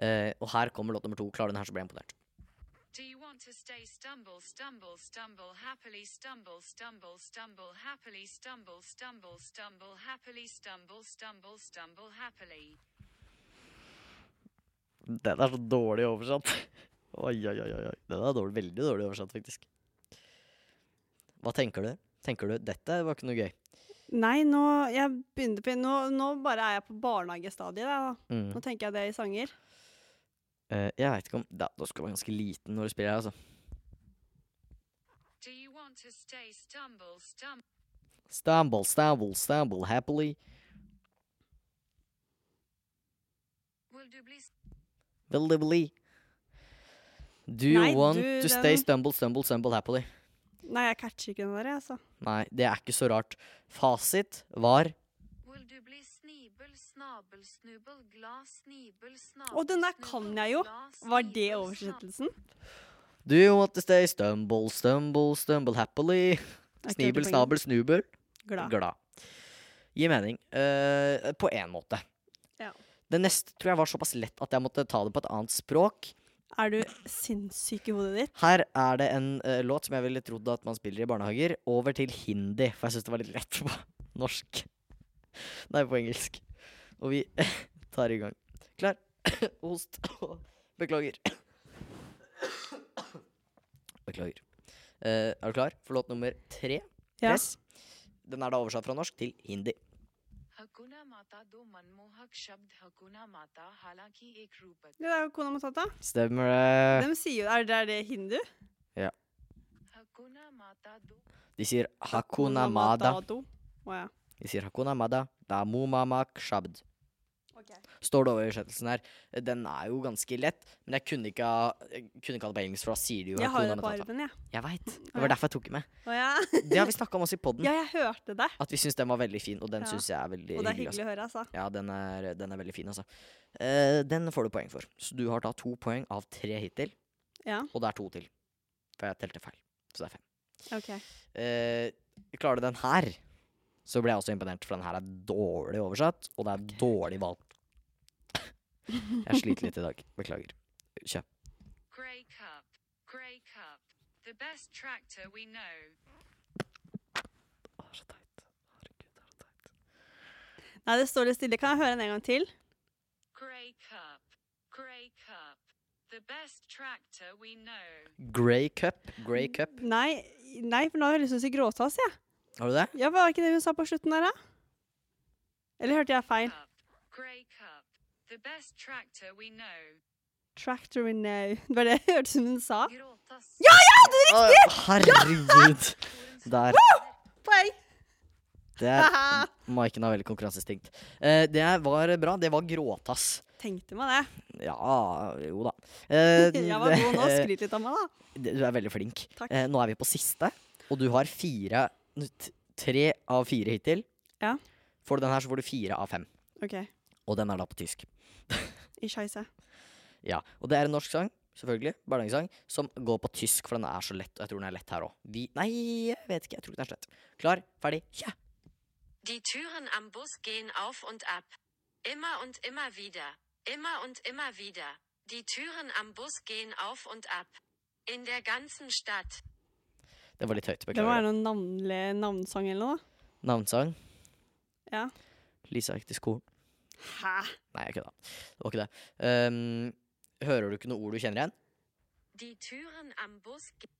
Speaker 1: Eh, og her kommer låt nummer to. Klarer du den her, så blir jeg imponert.
Speaker 3: Do you want want to stay stumble, stumble, stumble, happily stumble, stumble, stumble, happily stumble, stumble, stumble, happily stumble, stumble, stumble, happily.
Speaker 1: Den er så dårlig oversatt. Oi, oi, oi. oi. oi. Den er dårlig, veldig dårlig oversatt, faktisk. Hva tenker du? Tenker du dette var ikke noe gøy?
Speaker 2: Nei, nå, jeg begynte på, nå, nå bare er jeg på barnehagestadiet. Da.
Speaker 1: Mm.
Speaker 2: Nå tenker jeg det i sanger.
Speaker 1: Eh, jeg veit ikke om da, da skal du være ganske liten når du spiller her, altså.
Speaker 3: Do you want to stay stumble, stumble?
Speaker 1: Stumble, stumble, stumble happily.
Speaker 3: Will do bliss.
Speaker 1: Believably. Do you
Speaker 2: Nei,
Speaker 1: want
Speaker 2: du,
Speaker 1: to stay
Speaker 2: den-
Speaker 1: stumble, stumble, stumble happily?
Speaker 2: Nei, jeg catcher ikke den der, jeg, altså.
Speaker 1: Nei, det er ikke så rart. Fasit var
Speaker 3: Will du bli snibel, snabel, snubel, glad, snibel, snabel
Speaker 2: Å, den der kan jeg jo! Var det oversettelsen?
Speaker 1: Do you want to stay stumble, stumble, stumble happily?
Speaker 2: Jeg klarte
Speaker 1: Snibel,
Speaker 2: poenget.
Speaker 1: snabel, snubel.
Speaker 2: Glad.
Speaker 1: Glad. Gir mening. eh, på én måte.
Speaker 2: Ja.
Speaker 1: Det neste tror jeg var såpass lett at jeg måtte ta det på et annet språk.
Speaker 2: Er du sinnssyk i hodet ditt?
Speaker 1: Her er det en eh, låt som jeg ville trodd at man spiller i barnehager, over til hindi. For jeg syns det var litt lett på norsk. Nei, på engelsk. Og vi tar i gang. Klar, host. Beklager. Beklager. Eh, er du klar for låt nummer tre?
Speaker 2: Ja.
Speaker 1: Yes. Den er da oversatt fra norsk til hindi.
Speaker 3: Hakuna mata do manmohak shabd hakuna mata halaki ek rupak
Speaker 2: Det er jo Kona Matata.
Speaker 1: Stemmer det?
Speaker 2: De sier jo Er det, er det hindu?
Speaker 3: hakuna mata do
Speaker 1: De sier hakuna mada.
Speaker 2: Matata. Å ja.
Speaker 1: De sier hakuna mada. Damu mamak shabd. Står det over i oversettelsen her. Den er jo ganske lett, men jeg kunne ikke ha, jeg kunne ikke ha det på engelsk, for da sier de jo
Speaker 2: Jeg har jo
Speaker 1: hakuna
Speaker 2: det på
Speaker 1: matata.
Speaker 2: arven, jeg.
Speaker 1: Jeg vet. Det
Speaker 2: Å, ja.
Speaker 1: var derfor jeg tok den med.
Speaker 2: Å ja.
Speaker 1: Det har vi snakka om også i poden,
Speaker 2: ja, jeg hørte det.
Speaker 1: at vi syns den var veldig fin, og den
Speaker 2: Ja.
Speaker 1: synes syns jeg er veldig
Speaker 2: Og det er
Speaker 1: hyggelig. altså.
Speaker 2: hyggelig å høre, altså.
Speaker 1: Ja, den er, den er veldig fin, altså. Eh, den får du poeng for. Så du har da to poeng av tre hittil,
Speaker 2: Ja,
Speaker 1: og det er to til. For jeg telte feil. Så det er fem.
Speaker 2: ok.
Speaker 1: Eh, klarer du den her, så blir jeg også imponert, for den her er dårlig oversatt, og det er dårlig valgt. Jeg sliter litt i dag. Beklager. Kjøp.
Speaker 3: Grey Cup. Grey Cup. The best tractor we know.
Speaker 1: Å, så teit. Herregud, det er så teit.
Speaker 2: Nei, det står litt stille. Kan jeg høre den en gang til?
Speaker 3: Grey Cup. Grey Cup. The best tractor we know.
Speaker 1: Grey cup. Grey cup.
Speaker 2: Nei, nei for nå har jeg lyst til å si gråtass, jeg.
Speaker 1: Har du det?
Speaker 2: Ja, var ikke det hun sa på slutten der, da? Eller hørte jeg feil?
Speaker 3: Cup. Grey Cup. The best tractor we know.
Speaker 2: Tractor we know. Det var det jeg hørte som hun sa.
Speaker 3: Gråtas.
Speaker 1: Å, herregud. Der.
Speaker 2: Poeng!
Speaker 1: Det er, Maiken har veldig konkurranseinstinkt. Eh, det var bra. Det var gråtass.
Speaker 2: Tenkte meg det.
Speaker 1: Ja, jo da. Eh,
Speaker 2: Jeg var god nå.
Speaker 1: eh,
Speaker 2: Skryt litt av meg, da.
Speaker 1: Det- Du er veldig flink.
Speaker 2: Takk.
Speaker 1: Eh, nå er vi på siste, og du har fire n- t- Tre av fire hittil.
Speaker 2: Ja.
Speaker 1: Får du den her, så får du fire av fem.
Speaker 2: OK.
Speaker 1: Og den er da på tysk.
Speaker 2: I scheisse.
Speaker 1: Ja, Og det er en norsk sang, selvfølgelig, barnehagesang, som går på tysk, for den er så lett. Og jeg tror den er lett her òg. Vi Nei, jeg vet ikke. Jeg tror ikke den er så lett. Klar, ferdig, ja!
Speaker 4: Die Türen am Bus gehen auf und ab. Immer und immer wieder. Immer und immer wieder. Die Türen am Bus gehen auf und ab. In der ganzen Stadt.
Speaker 1: Det var litt høyt.
Speaker 2: Det må
Speaker 1: Beklager.
Speaker 2: være noen navnle, navnsang eller noe.
Speaker 1: Navnsang.
Speaker 2: Ja.
Speaker 1: Lisa gikk til skolen.
Speaker 2: Hæ?
Speaker 1: Nei, jeg kødda. Det var ikke det. Ehm, hører du ikke noe ord du kjenner igjen?
Speaker 4: Die Türen am Bus. ge-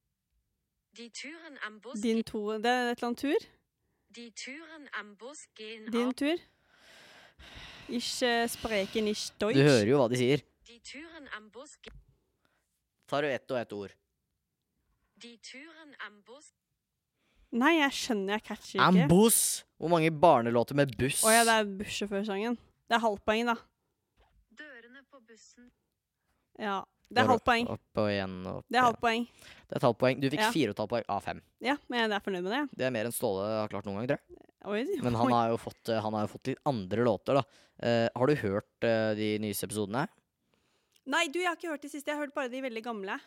Speaker 4: Die Türen am Bus.
Speaker 2: Din to Det er et eller annet tur?
Speaker 4: Die Türen am Bus gehen
Speaker 2: Din
Speaker 4: auf.
Speaker 2: tur? Ich eh, spreche nicht Deutsch.
Speaker 1: Du hører jo hva de sier.
Speaker 4: Die Türen am Bus. ge-
Speaker 1: Tar du ett og ett ord?
Speaker 4: Die Türen am Bus.
Speaker 2: Nei, jeg skjønner, jeg catcher ikke.
Speaker 1: Ambuss! Hvor mange barnelåter med buss?
Speaker 2: Å ja, det er bussjåførsangen. Det er halvt poeng, da.
Speaker 3: Dørene på bussen.
Speaker 2: Ja. Det er
Speaker 1: Går
Speaker 2: halvt poeng.
Speaker 1: Opp og igjen og opp.
Speaker 2: Det er halvt
Speaker 1: igjen.
Speaker 2: poeng.
Speaker 1: Det er et halvt poeng. Du fikk
Speaker 2: Ja.
Speaker 1: fire og et halvt poeng av fem.
Speaker 2: Ja, men jeg er fornøyd med det. jeg.
Speaker 1: Det er mer enn Ståle har klart noen gang, tror jeg.
Speaker 2: Oi.
Speaker 1: Men han
Speaker 2: oi.
Speaker 1: har jo fått, eh, han har jo fått litt andre låter, da. Eh, har du hørt eh, de nyeste episodene?
Speaker 2: Nei, du, jeg har ikke hørt de siste. Jeg har hørt bare de veldig gamle.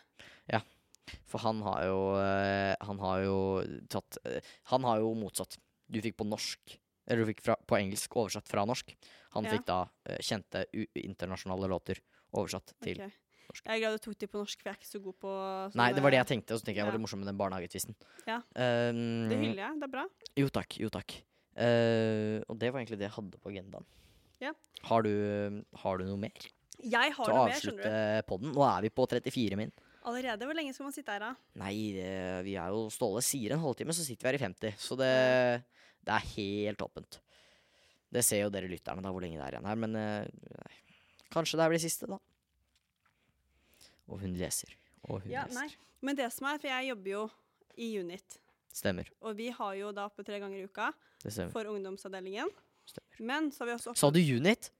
Speaker 1: For han har jo eh, Han har jo tatt eh, Han har jo motsatt. Du fikk på norsk. Eller du fikk fra, på engelsk oversatt fra norsk. Han
Speaker 2: Ja.
Speaker 1: fikk da eh, kjente u internasjonale låter oversatt til
Speaker 2: Ok. Jeg er glad du tok de på norsk, for jeg er ikke så god på sånne-
Speaker 1: Nei, det var det jeg tenkte, og så tenker jeg
Speaker 2: Ja.
Speaker 1: var litt morsom med den barnehagetvisten.
Speaker 2: Ja.
Speaker 1: Um,
Speaker 2: Det hyller jeg. Det er bra.
Speaker 1: Jo takk, jo takk. Eh, og det var egentlig det jeg hadde på agendaen.
Speaker 2: Ja.
Speaker 1: Har, du, eh, har du noe mer til
Speaker 2: Jeg har
Speaker 1: å
Speaker 2: noe mer, skjønner
Speaker 1: avslutte
Speaker 2: du.
Speaker 1: podden? Nå er vi på 34 min.
Speaker 2: Allerede? Hvor lenge skal man sitte her, da?
Speaker 1: Nei, det- vi er jo Ståle sier en halvtime, så sitter vi her i 50. Så det, det er helt åpent. Det ser jo dere lytterne, da, hvor lenge det er igjen her. Men eh, nei. kanskje det her blir siste, da. Og hun leser. Og hun
Speaker 2: Ja, nei.
Speaker 1: leser.
Speaker 2: Men det som er, for jeg jobber jo i Unit,
Speaker 1: Stemmer.
Speaker 2: og vi har jo da oppe tre ganger i uka
Speaker 1: Det stemmer.
Speaker 2: for ungdomsavdelingen.
Speaker 1: Stemmer.
Speaker 2: Men så har vi også oppe
Speaker 1: Sa du unit?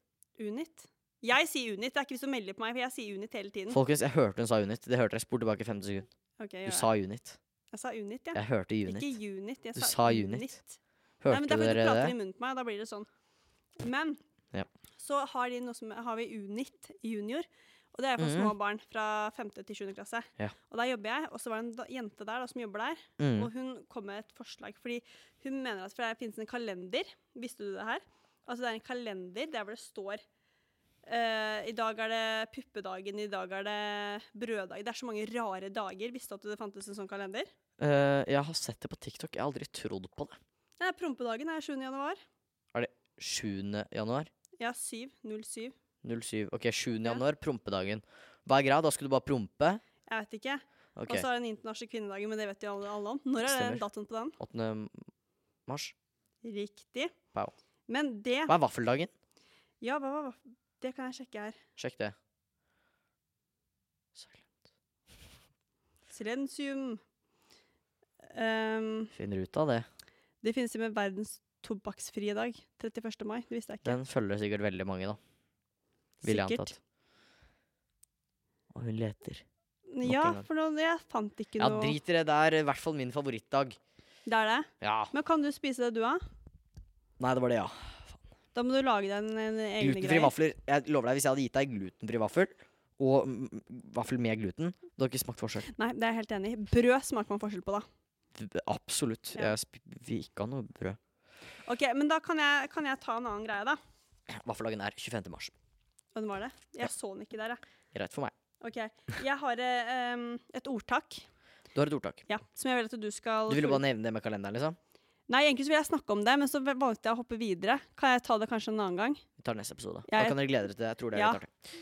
Speaker 2: Unit. Jeg sier Unit, det er ikke hvis du melder på meg, for jeg sier Unit hele tiden.
Speaker 1: Folkens, jeg hørte hun sa unit. Det hørte jeg spurt tilbake i 50 sekunder.
Speaker 2: Ok, gjør
Speaker 1: Du
Speaker 2: det.
Speaker 1: sa unit.
Speaker 2: Jeg sa Unit, ja.
Speaker 1: Jeg hørte unit.
Speaker 2: Ikke Unit, jeg
Speaker 1: Du
Speaker 2: sa,
Speaker 1: sa Unit.
Speaker 2: Nei, men
Speaker 1: Hørte
Speaker 2: det er fordi
Speaker 1: dere
Speaker 2: du
Speaker 1: det?
Speaker 2: prater i munnen på meg, da blir det sånn. Men
Speaker 1: Ja.
Speaker 2: så har, de noe som, har vi Unit junior, og det er for
Speaker 1: Mhm.
Speaker 2: små barn fra 5. til 7. klasse.
Speaker 1: Ja.
Speaker 2: Og der jobber jeg, og så var det en da, jente der da, som jobber der,
Speaker 1: Mm.
Speaker 2: og hun kom med et forslag, fordi hun mener at for det finnes en kalender, visste du det her? Altså det er en kalender der hvor det står eh, i dag er det puppedagen, i dag er det brøddag. Det er så mange rare dager. Visste du at det fantes en sånn kalender?
Speaker 1: Eh, jeg har sett det på TikTok. Jeg har aldri trodd på det.
Speaker 2: Nei, prompedagen er 7. januar.
Speaker 1: 7. januar?
Speaker 2: Ja, 7. 07.
Speaker 1: 07. Ok, 7.
Speaker 2: Ja.
Speaker 1: januar, prompedagen. Hva er greia? Da skulle du bare prompe?
Speaker 2: Jeg vet ikke.
Speaker 1: Ok,
Speaker 2: Og så er det den internasjonale kvinnedagen, men det vet jo alle, alle om. Når er
Speaker 1: Stemmer.
Speaker 2: det datoen på den?
Speaker 1: 8. mars.
Speaker 2: Riktig.
Speaker 1: Wow.
Speaker 2: Men det
Speaker 1: Hva er vaffeldagen?
Speaker 2: Ja, hva, hva, hva Det kan jeg sjekke her.
Speaker 1: Sjekk det. Silent.
Speaker 2: Silensium. Ehm,
Speaker 1: Finner ut av det.
Speaker 2: det finnes jo med verdens tobakksfrie dag. 31. mai. Det visste jeg ikke.
Speaker 1: Den følger sikkert veldig mange, da. Vil jeg antatt. Og hun leter. en
Speaker 2: Ja,
Speaker 1: gang.
Speaker 2: for nå, jeg fant ikke
Speaker 1: Ja,
Speaker 2: noe
Speaker 1: drit i det. Det er i hvert fall min favorittdag.
Speaker 2: Det er det.
Speaker 1: Ja.
Speaker 2: Men kan du spise det du har?
Speaker 1: Nei, det var det, ja.
Speaker 2: Da må du lage deg en, en egne
Speaker 1: Glutenfri
Speaker 2: greier.
Speaker 1: vafler. Jeg lover deg, hvis jeg hadde gitt deg glutenfri vaffel, og mm, vaffel med gluten Det hadde ikke smakt forskjell.
Speaker 2: Nei, det er jeg helt enig i. Brød smaker man forskjell på, da.
Speaker 1: V- Absolutt.
Speaker 2: Ja.
Speaker 1: Jeg sp- vil ikke ha noe brød.
Speaker 2: Ok, men da kan jeg, kan jeg ta en annen greie, da.
Speaker 1: Vaffeldagen er 25. mars.
Speaker 2: Hva var det? Jeg så den ikke der, jeg.
Speaker 1: Greit for meg.
Speaker 2: Ok, Jeg har eh, em, et ordtak
Speaker 1: Du har et ordtak.
Speaker 2: ja, som jeg vil at du skal
Speaker 1: Du ville bare nevne det med kalenderen, liksom?
Speaker 2: Nei, egentlig så vil jeg snakke om det, men så valgte jeg å hoppe videre. Kan jeg ta det kanskje en annen gang?
Speaker 1: Vi tar neste episode.
Speaker 2: Ja,
Speaker 1: Da
Speaker 2: jeg-
Speaker 1: kan dere glede dere til det. Jeg tror det er
Speaker 2: Ja.
Speaker 1: litt artig.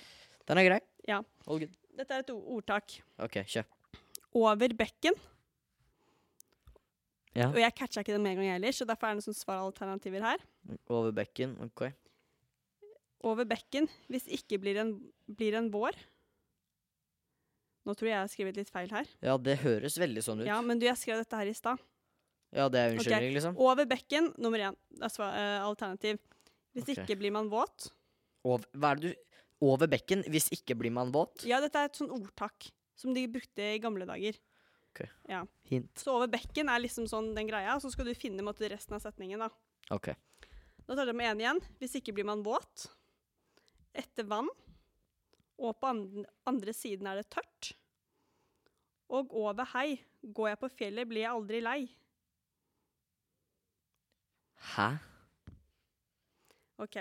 Speaker 1: Den er grei.
Speaker 2: Ja.
Speaker 1: All good.
Speaker 2: Dette er et o- ordtak.
Speaker 1: OK, kjør.
Speaker 2: Over bekken.
Speaker 1: Ja.
Speaker 2: Og jeg catcha ikke det med en gang jeg heller, så derfor er det noen sånne svaralternativer her.
Speaker 1: Over bekken. OK.
Speaker 2: Over bekken hvis ikke blir en, blir en vår. Nå tror jeg jeg har skrevet litt feil her.
Speaker 1: Ja, det høres veldig sånn ut.
Speaker 2: Ja,
Speaker 1: Ja,
Speaker 2: Men du, jeg skrev dette her i stad.
Speaker 1: det er unnskyldning, liksom.
Speaker 2: Over bekken, nummer én. Det er sva- eh, alternativ. Hvis
Speaker 1: Ok.
Speaker 2: ikke blir man våt.
Speaker 1: Over, hva er det du Over bekken, hvis ikke blir man våt?
Speaker 2: Ja, dette er et sånn ordtak som de brukte i gamle dager.
Speaker 1: Hint.
Speaker 2: Så over bekken er liksom sånn den greia, og så skal du finne måtte, resten av setningen. Da
Speaker 1: OK.
Speaker 2: Da tar du med én igjen. Hvis ikke blir man våt. Etter vann. Og på and andre siden er det tørt. Og over hei. Går jeg på fjellet, blir jeg aldri lei.
Speaker 1: Hæ?
Speaker 2: OK.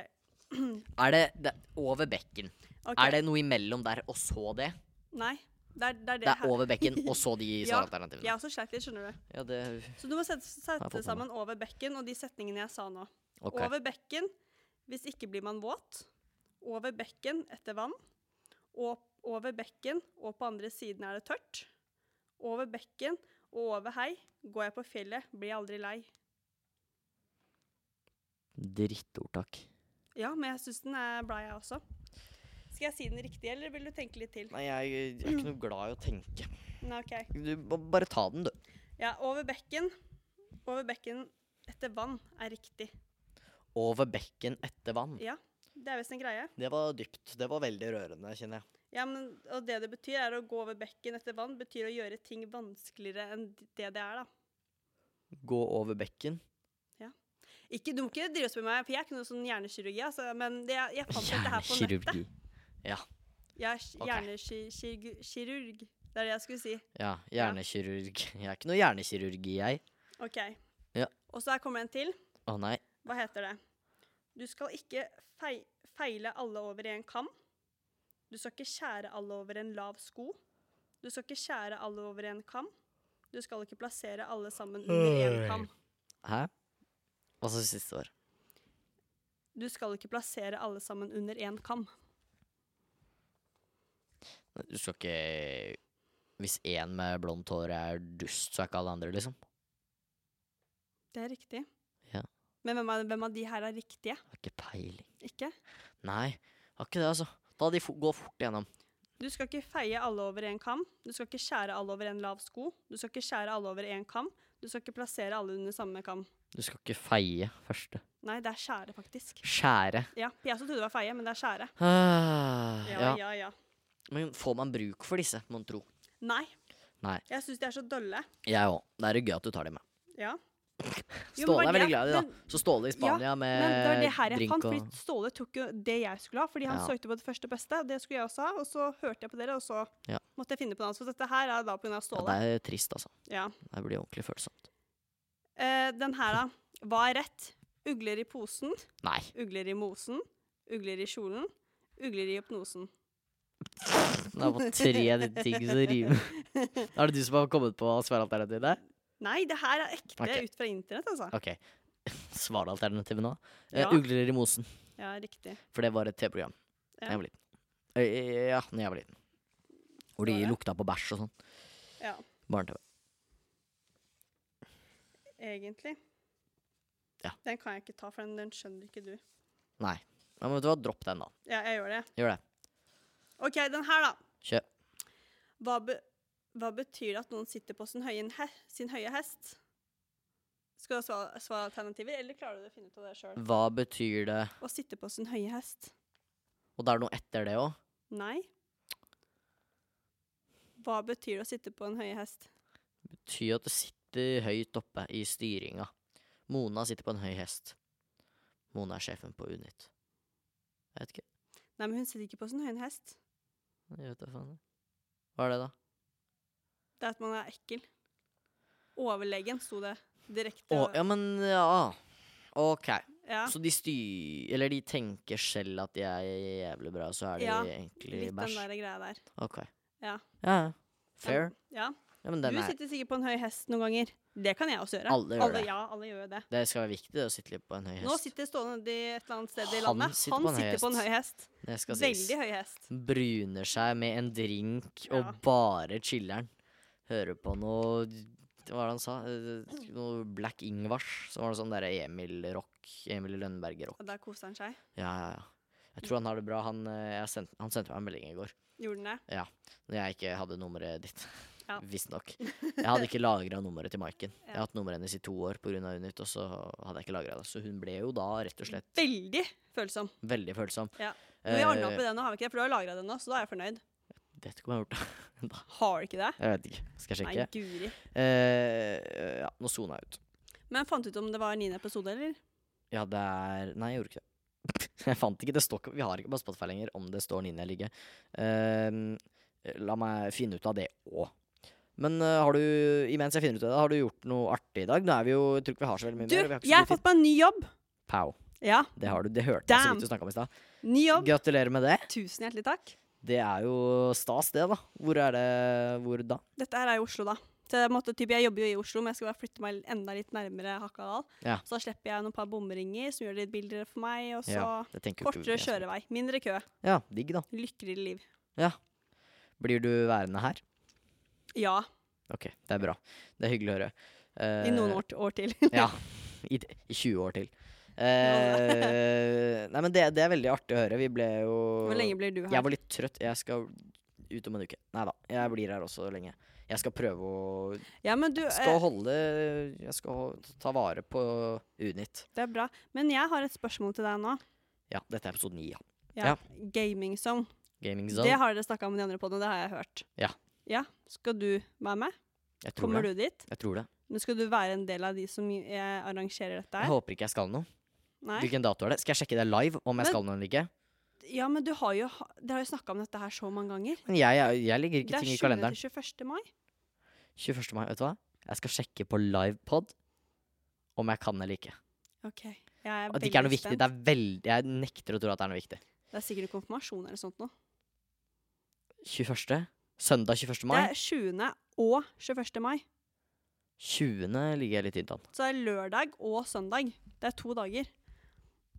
Speaker 1: Er det, det Over bekken.
Speaker 2: ok.
Speaker 1: Er det noe imellom der og så det?
Speaker 2: Nei. Det er det, er det,
Speaker 1: Det er
Speaker 2: her.
Speaker 1: over bekken og så de
Speaker 2: Ja,
Speaker 1: svaralternativene.
Speaker 2: Jeg også sleit litt, skjønner du.
Speaker 1: Ja, det
Speaker 2: Så du må sette,
Speaker 1: fått
Speaker 2: sette
Speaker 1: med meg.
Speaker 2: sammen over bekken og de setningene jeg sa nå.
Speaker 1: OK.
Speaker 2: Over bekken hvis ikke blir man våt. Over bekken etter vann. Og over bekken og på andre siden er det tørt. Over bekken og over hei. Går jeg på fjellet, blir jeg aldri lei.
Speaker 1: Drittordtak.
Speaker 2: Ja, men jeg syns den er blei, jeg også. Skal jeg si den riktig, eller vil du tenke litt til?
Speaker 1: Nei, jeg, jeg er ikke noe glad i å tenke.
Speaker 2: Nei, ok.
Speaker 1: Du, ba- bare ta den, du.
Speaker 2: Ja, over bekken. Over bekken etter vann er riktig.
Speaker 1: Over bekken etter vann.
Speaker 2: Ja, det er visst en greie.
Speaker 1: Det var dypt. Det var veldig rørende, kjenner jeg.
Speaker 2: Ja, men, og det det betyr, er å gå over bekken etter vann, betyr å gjøre ting vanskeligere enn det det er, da.
Speaker 1: Gå over bekken.
Speaker 2: Ikke, du må ikke drive og spørre meg, for jeg er ikke noe sånn hjernekirurgi. Altså, men det, jeg fant dette her på nettet.
Speaker 1: Hjernekirurgi.
Speaker 2: Jeg er
Speaker 1: Ok.
Speaker 2: hjernekirurg. Det er det jeg skulle si.
Speaker 1: Ja, hjernekirurg. Jeg er ikke noe hjernekirurgi, jeg.
Speaker 2: OK.
Speaker 1: Ja.
Speaker 2: Og så her kommer en til.
Speaker 1: Å nei.
Speaker 2: Hva heter det? Du skal ikke fei feile alle over i en kam. Du skal ikke skjære alle over en lav sko. Du skal ikke skjære alle over en kam. Du skal ikke plassere alle sammen under én kam.
Speaker 1: Hæ? Hva sa du siste år?
Speaker 2: Du skal ikke plassere alle sammen under én kam.
Speaker 1: Du skal ikke Hvis én med blondt hår er dust, så er ikke alle andre, liksom.
Speaker 2: Det er riktig.
Speaker 1: Ja.
Speaker 2: Men hvem av, hvem av de her er riktige?
Speaker 1: Har ikke peiling.
Speaker 2: Ikke?
Speaker 1: Nei, har ikke det, altså. Da de fo går fort gjennom.
Speaker 2: Du skal ikke feie alle over en kam. Du skal ikke skjære alle over en lav sko. Du skal ikke skjære alle over en kam. Du skal ikke plassere alle under samme kam.
Speaker 1: Du skal ikke feie første.
Speaker 2: Nei, det er skjære, faktisk.
Speaker 1: Skjære.
Speaker 2: Ja, jeg også trodde det var feie, men det er skjære.
Speaker 1: Ah,
Speaker 2: Ja,
Speaker 1: ja.
Speaker 2: ja, ja.
Speaker 1: Men får man bruk for disse, mon tro?
Speaker 2: Nei.
Speaker 1: Nei.
Speaker 2: Jeg syns de er så dølle.
Speaker 1: Jeg òg. Det er jo gøy at du tar dem med.
Speaker 2: Ja. Jo, men
Speaker 1: Ståle
Speaker 2: var
Speaker 1: er veldig
Speaker 2: det-
Speaker 1: glad i det,
Speaker 2: men-
Speaker 1: da. Så Ståle i Spania
Speaker 2: ja,
Speaker 1: med
Speaker 2: Men det var det her jeg
Speaker 1: drink
Speaker 2: fant,
Speaker 1: og
Speaker 2: fordi Ståle tok jo det jeg skulle ha. Fordi han
Speaker 1: Ja.
Speaker 2: søkte på det første beste, og det skulle jeg også ha. Og så hørte jeg på dere, og så
Speaker 1: Ja.
Speaker 2: måtte jeg finne på noe annet. Så dette her er da pga.
Speaker 1: ja,
Speaker 2: Ståle.
Speaker 1: Det er trist, altså.
Speaker 2: Ja.
Speaker 1: Det blir ordentlig følsomt.
Speaker 2: Eh, den her, da. Hva er rett? Ugler i posen,
Speaker 1: Nei.
Speaker 2: ugler i mosen, ugler i kjolen, ugler i hypnosen.
Speaker 1: Det er bare tre ting som rimer. Er det du som har kommet på svaralternativet der?
Speaker 2: Nei, det her er ekte
Speaker 1: Ok.
Speaker 2: ut fra internett, altså.
Speaker 1: OK. Svaralternativet nå? Eh,
Speaker 2: Ja.
Speaker 1: Ugler i mosen.
Speaker 2: Ja, riktig.
Speaker 1: For det var et TV-program da
Speaker 2: Ja.
Speaker 1: jeg var liten. Eh, Ja, da jeg var liten. Hvor de
Speaker 2: Var det?
Speaker 1: lukta på bæsj og sånn.
Speaker 2: Ja,
Speaker 1: Barne-TV.
Speaker 2: egentlig.
Speaker 1: Ja.
Speaker 2: Den kan jeg ikke ta, for den, den skjønner ikke du.
Speaker 1: Nei. Ja, men vet du hva, dropp den, da.
Speaker 2: Ja, jeg gjør det.
Speaker 1: Gjør det.
Speaker 2: OK, den her, da.
Speaker 1: Kjør.
Speaker 2: Hva, be hva betyr det at noen sitter på sin høye, he sin høye hest? Skal du ha svar, alternativer, eller klarer du å finne ut av det sjøl?
Speaker 1: Hva betyr det
Speaker 2: Å sitte på sin høye hest?
Speaker 1: Og det er noe etter det òg?
Speaker 2: Nei. Hva betyr det å sitte på en høye hest?
Speaker 1: Betyr at du sitter høyt oppe i styringa. Mona sitter på en høy hest. Mona er sjefen på Unit. Jeg vet ikke.
Speaker 2: Nei, men hun sitter ikke på sin høye hest.
Speaker 1: Jeg vet da faen. Hva er det, da?
Speaker 2: Det er at man er ekkel. Overlegen, sto det direkte.
Speaker 1: Å, ja, men ja. OK.
Speaker 2: Ja,
Speaker 1: Så de styr... Eller de tenker selv at de er jævlig bra, så er de
Speaker 2: Ja,
Speaker 1: egentlig
Speaker 2: litt den
Speaker 1: bæsj.
Speaker 2: der greia der.
Speaker 1: OK. ja.
Speaker 2: Ja.
Speaker 1: ja. Fair.
Speaker 2: Ja.
Speaker 1: Ja, men
Speaker 2: Du
Speaker 1: den er
Speaker 2: sitter sikkert på en høy hest noen ganger. Det kan jeg også gjøre.
Speaker 1: Alle gjør det.
Speaker 2: Ja, alle gjør jo det.
Speaker 1: Det skal være viktig det å sitte litt på en høy hest.
Speaker 2: Nå sitter Ståle nede i et eller annet sted i
Speaker 1: Han
Speaker 2: landet.
Speaker 1: sitter
Speaker 2: Han
Speaker 1: på en høy
Speaker 2: sitter på en
Speaker 1: hest.
Speaker 2: høy hest.
Speaker 1: det skal sies.
Speaker 2: Veldig høy hest.
Speaker 1: Bruner seg med en drink og
Speaker 2: Ja.
Speaker 1: bare chiller'n. Hører på noe Hva var det han sa? Eh, Noe Black Ingvars. Så var det sånn derre Emil-rock. Emil Lønneberg-rock.
Speaker 2: Og der koser han seg.
Speaker 1: Ja, ja, ja. Jeg tror han har det bra. Han, eh, jeg sendte- han sendte meg en melding i går
Speaker 2: Gjorde han det?
Speaker 1: når jeg ikke hadde nummeret ditt.
Speaker 2: Ja.
Speaker 1: Visstnok. Jeg hadde ikke lagra nummeret til Maiken. Jeg
Speaker 2: Ja.
Speaker 1: har hatt nummeret hennes i to år pga. Unit, og så hadde jeg ikke lagret det. Så hun ble jo da rett og slett
Speaker 2: Veldig følsom.
Speaker 1: veldig følsom.
Speaker 2: Ja. Men vi
Speaker 1: Eh,
Speaker 2: ordna opp i det nå, har vi ikke det? For du har lagra det nå, så da er jeg fornøyd.
Speaker 1: Vet ikke om jeg har gjort det.
Speaker 2: Har du ikke det?
Speaker 1: Jeg vet ikke. Skal jeg
Speaker 2: Nei,
Speaker 1: sjekke?
Speaker 2: guri.
Speaker 1: Eh, ja, nå sona jeg ut.
Speaker 2: Men fant du ut om det var niende episode, eller?
Speaker 1: Ja, det er Nei, jeg gjorde ikke det. jeg fant ikke, det står ikke Vi har ikke på Spotify lenger om det står Nina eller ikke. Ehm, la meg finne ut av det òg. Men eh, har du imens jeg finner ut av det, har du gjort noe artig i dag? Nå er vi jo, Jeg tror ikke vi har så veldig mye
Speaker 2: Du,
Speaker 1: mer. Vi har ikke
Speaker 2: jeg
Speaker 1: så
Speaker 2: har
Speaker 1: mye tid.
Speaker 2: fått meg en ny jobb.
Speaker 1: Pow.
Speaker 2: Ja,
Speaker 1: Det har du. Det hørte jeg så
Speaker 2: Damn.
Speaker 1: vidt du snakka om i stad.
Speaker 2: ny jobb.
Speaker 1: Gratulerer med det.
Speaker 2: Tusen hjertelig takk.
Speaker 1: Det er jo stas, det, da. Hvor er det Hvor da?
Speaker 2: Dette her er i Oslo, da. Så jeg, måtte, typ, jeg jobber jo i Oslo, men jeg skal bare flytte meg enda litt nærmere Hakadal.
Speaker 1: Ja.
Speaker 2: Så da slipper jeg noen par bomringer som gjør det litt billigere for meg, og så
Speaker 1: Ja, det tenker jo ikke
Speaker 2: kortere
Speaker 1: jeg så mye.
Speaker 2: kjørevei. Mindre kø.
Speaker 1: Ja, digg, da.
Speaker 2: Lykkeligere liv.
Speaker 1: Blir du værende her?
Speaker 2: Ja,
Speaker 1: OK, det er bra. Det er hyggelig å høre.
Speaker 2: i noen
Speaker 1: Eh,
Speaker 2: år, år til.
Speaker 1: Ja, i, t- i 20 år til. Eh, nei, men det, det er veldig artig å høre. Vi ble jo
Speaker 2: Hvor lenge blir du her?
Speaker 1: Jeg var litt trøtt. Jeg skal ut om en uke. Nei da, jeg blir her også lenge. Jeg skal prøve å
Speaker 2: Ja, men du,
Speaker 1: Skal
Speaker 2: eh,
Speaker 1: holde Jeg skal ho- ta vare på Unit.
Speaker 2: det er bra. Men jeg har et spørsmål til deg nå.
Speaker 1: Ja, dette er episode 9, ja.
Speaker 2: Ja. Gaming Zone.
Speaker 1: Gaming
Speaker 2: Det
Speaker 1: Zone.
Speaker 2: har dere snakka om i de andre podene, det har jeg hørt.
Speaker 1: Ja.
Speaker 2: Ja, Skal du være med?
Speaker 1: Jeg tror
Speaker 2: Kommer
Speaker 1: det.
Speaker 2: du dit?
Speaker 1: Jeg tror det.
Speaker 2: Men skal du være en del av de som eh, arrangerer dette
Speaker 1: Jeg
Speaker 2: her?
Speaker 1: håper ikke jeg skal noe.
Speaker 2: Nei?
Speaker 1: Hvilken dato er det? Skal jeg sjekke det live om
Speaker 2: Men-
Speaker 1: jeg skal noe eller ikke?
Speaker 2: Ja, men du har jo, ha- dere har jo snakka om dette her så mange ganger.
Speaker 1: Men jeg, jeg, jeg legger
Speaker 2: Det
Speaker 1: ikke
Speaker 2: er
Speaker 1: ting i
Speaker 2: 20.
Speaker 1: kalenderen.
Speaker 2: til 21. mai.
Speaker 1: 21. mai, vet du hva? Jeg skal sjekke på livepod om jeg kan eller ikke.
Speaker 2: Ok. Jeg er
Speaker 1: At det ikke er noe
Speaker 2: veldig
Speaker 1: viktig.
Speaker 2: spent.
Speaker 1: Det er veldig, jeg nekter å tro at det er noe viktig.
Speaker 2: Det er sikkert konfirmasjon eller sånt noe.
Speaker 1: 21. Søndag 21.
Speaker 2: Det
Speaker 1: mai.
Speaker 2: er 20. og 21. mai.
Speaker 1: 20. ligger jeg litt tynt an.
Speaker 2: Så det er lørdag og søndag. Det er to dager.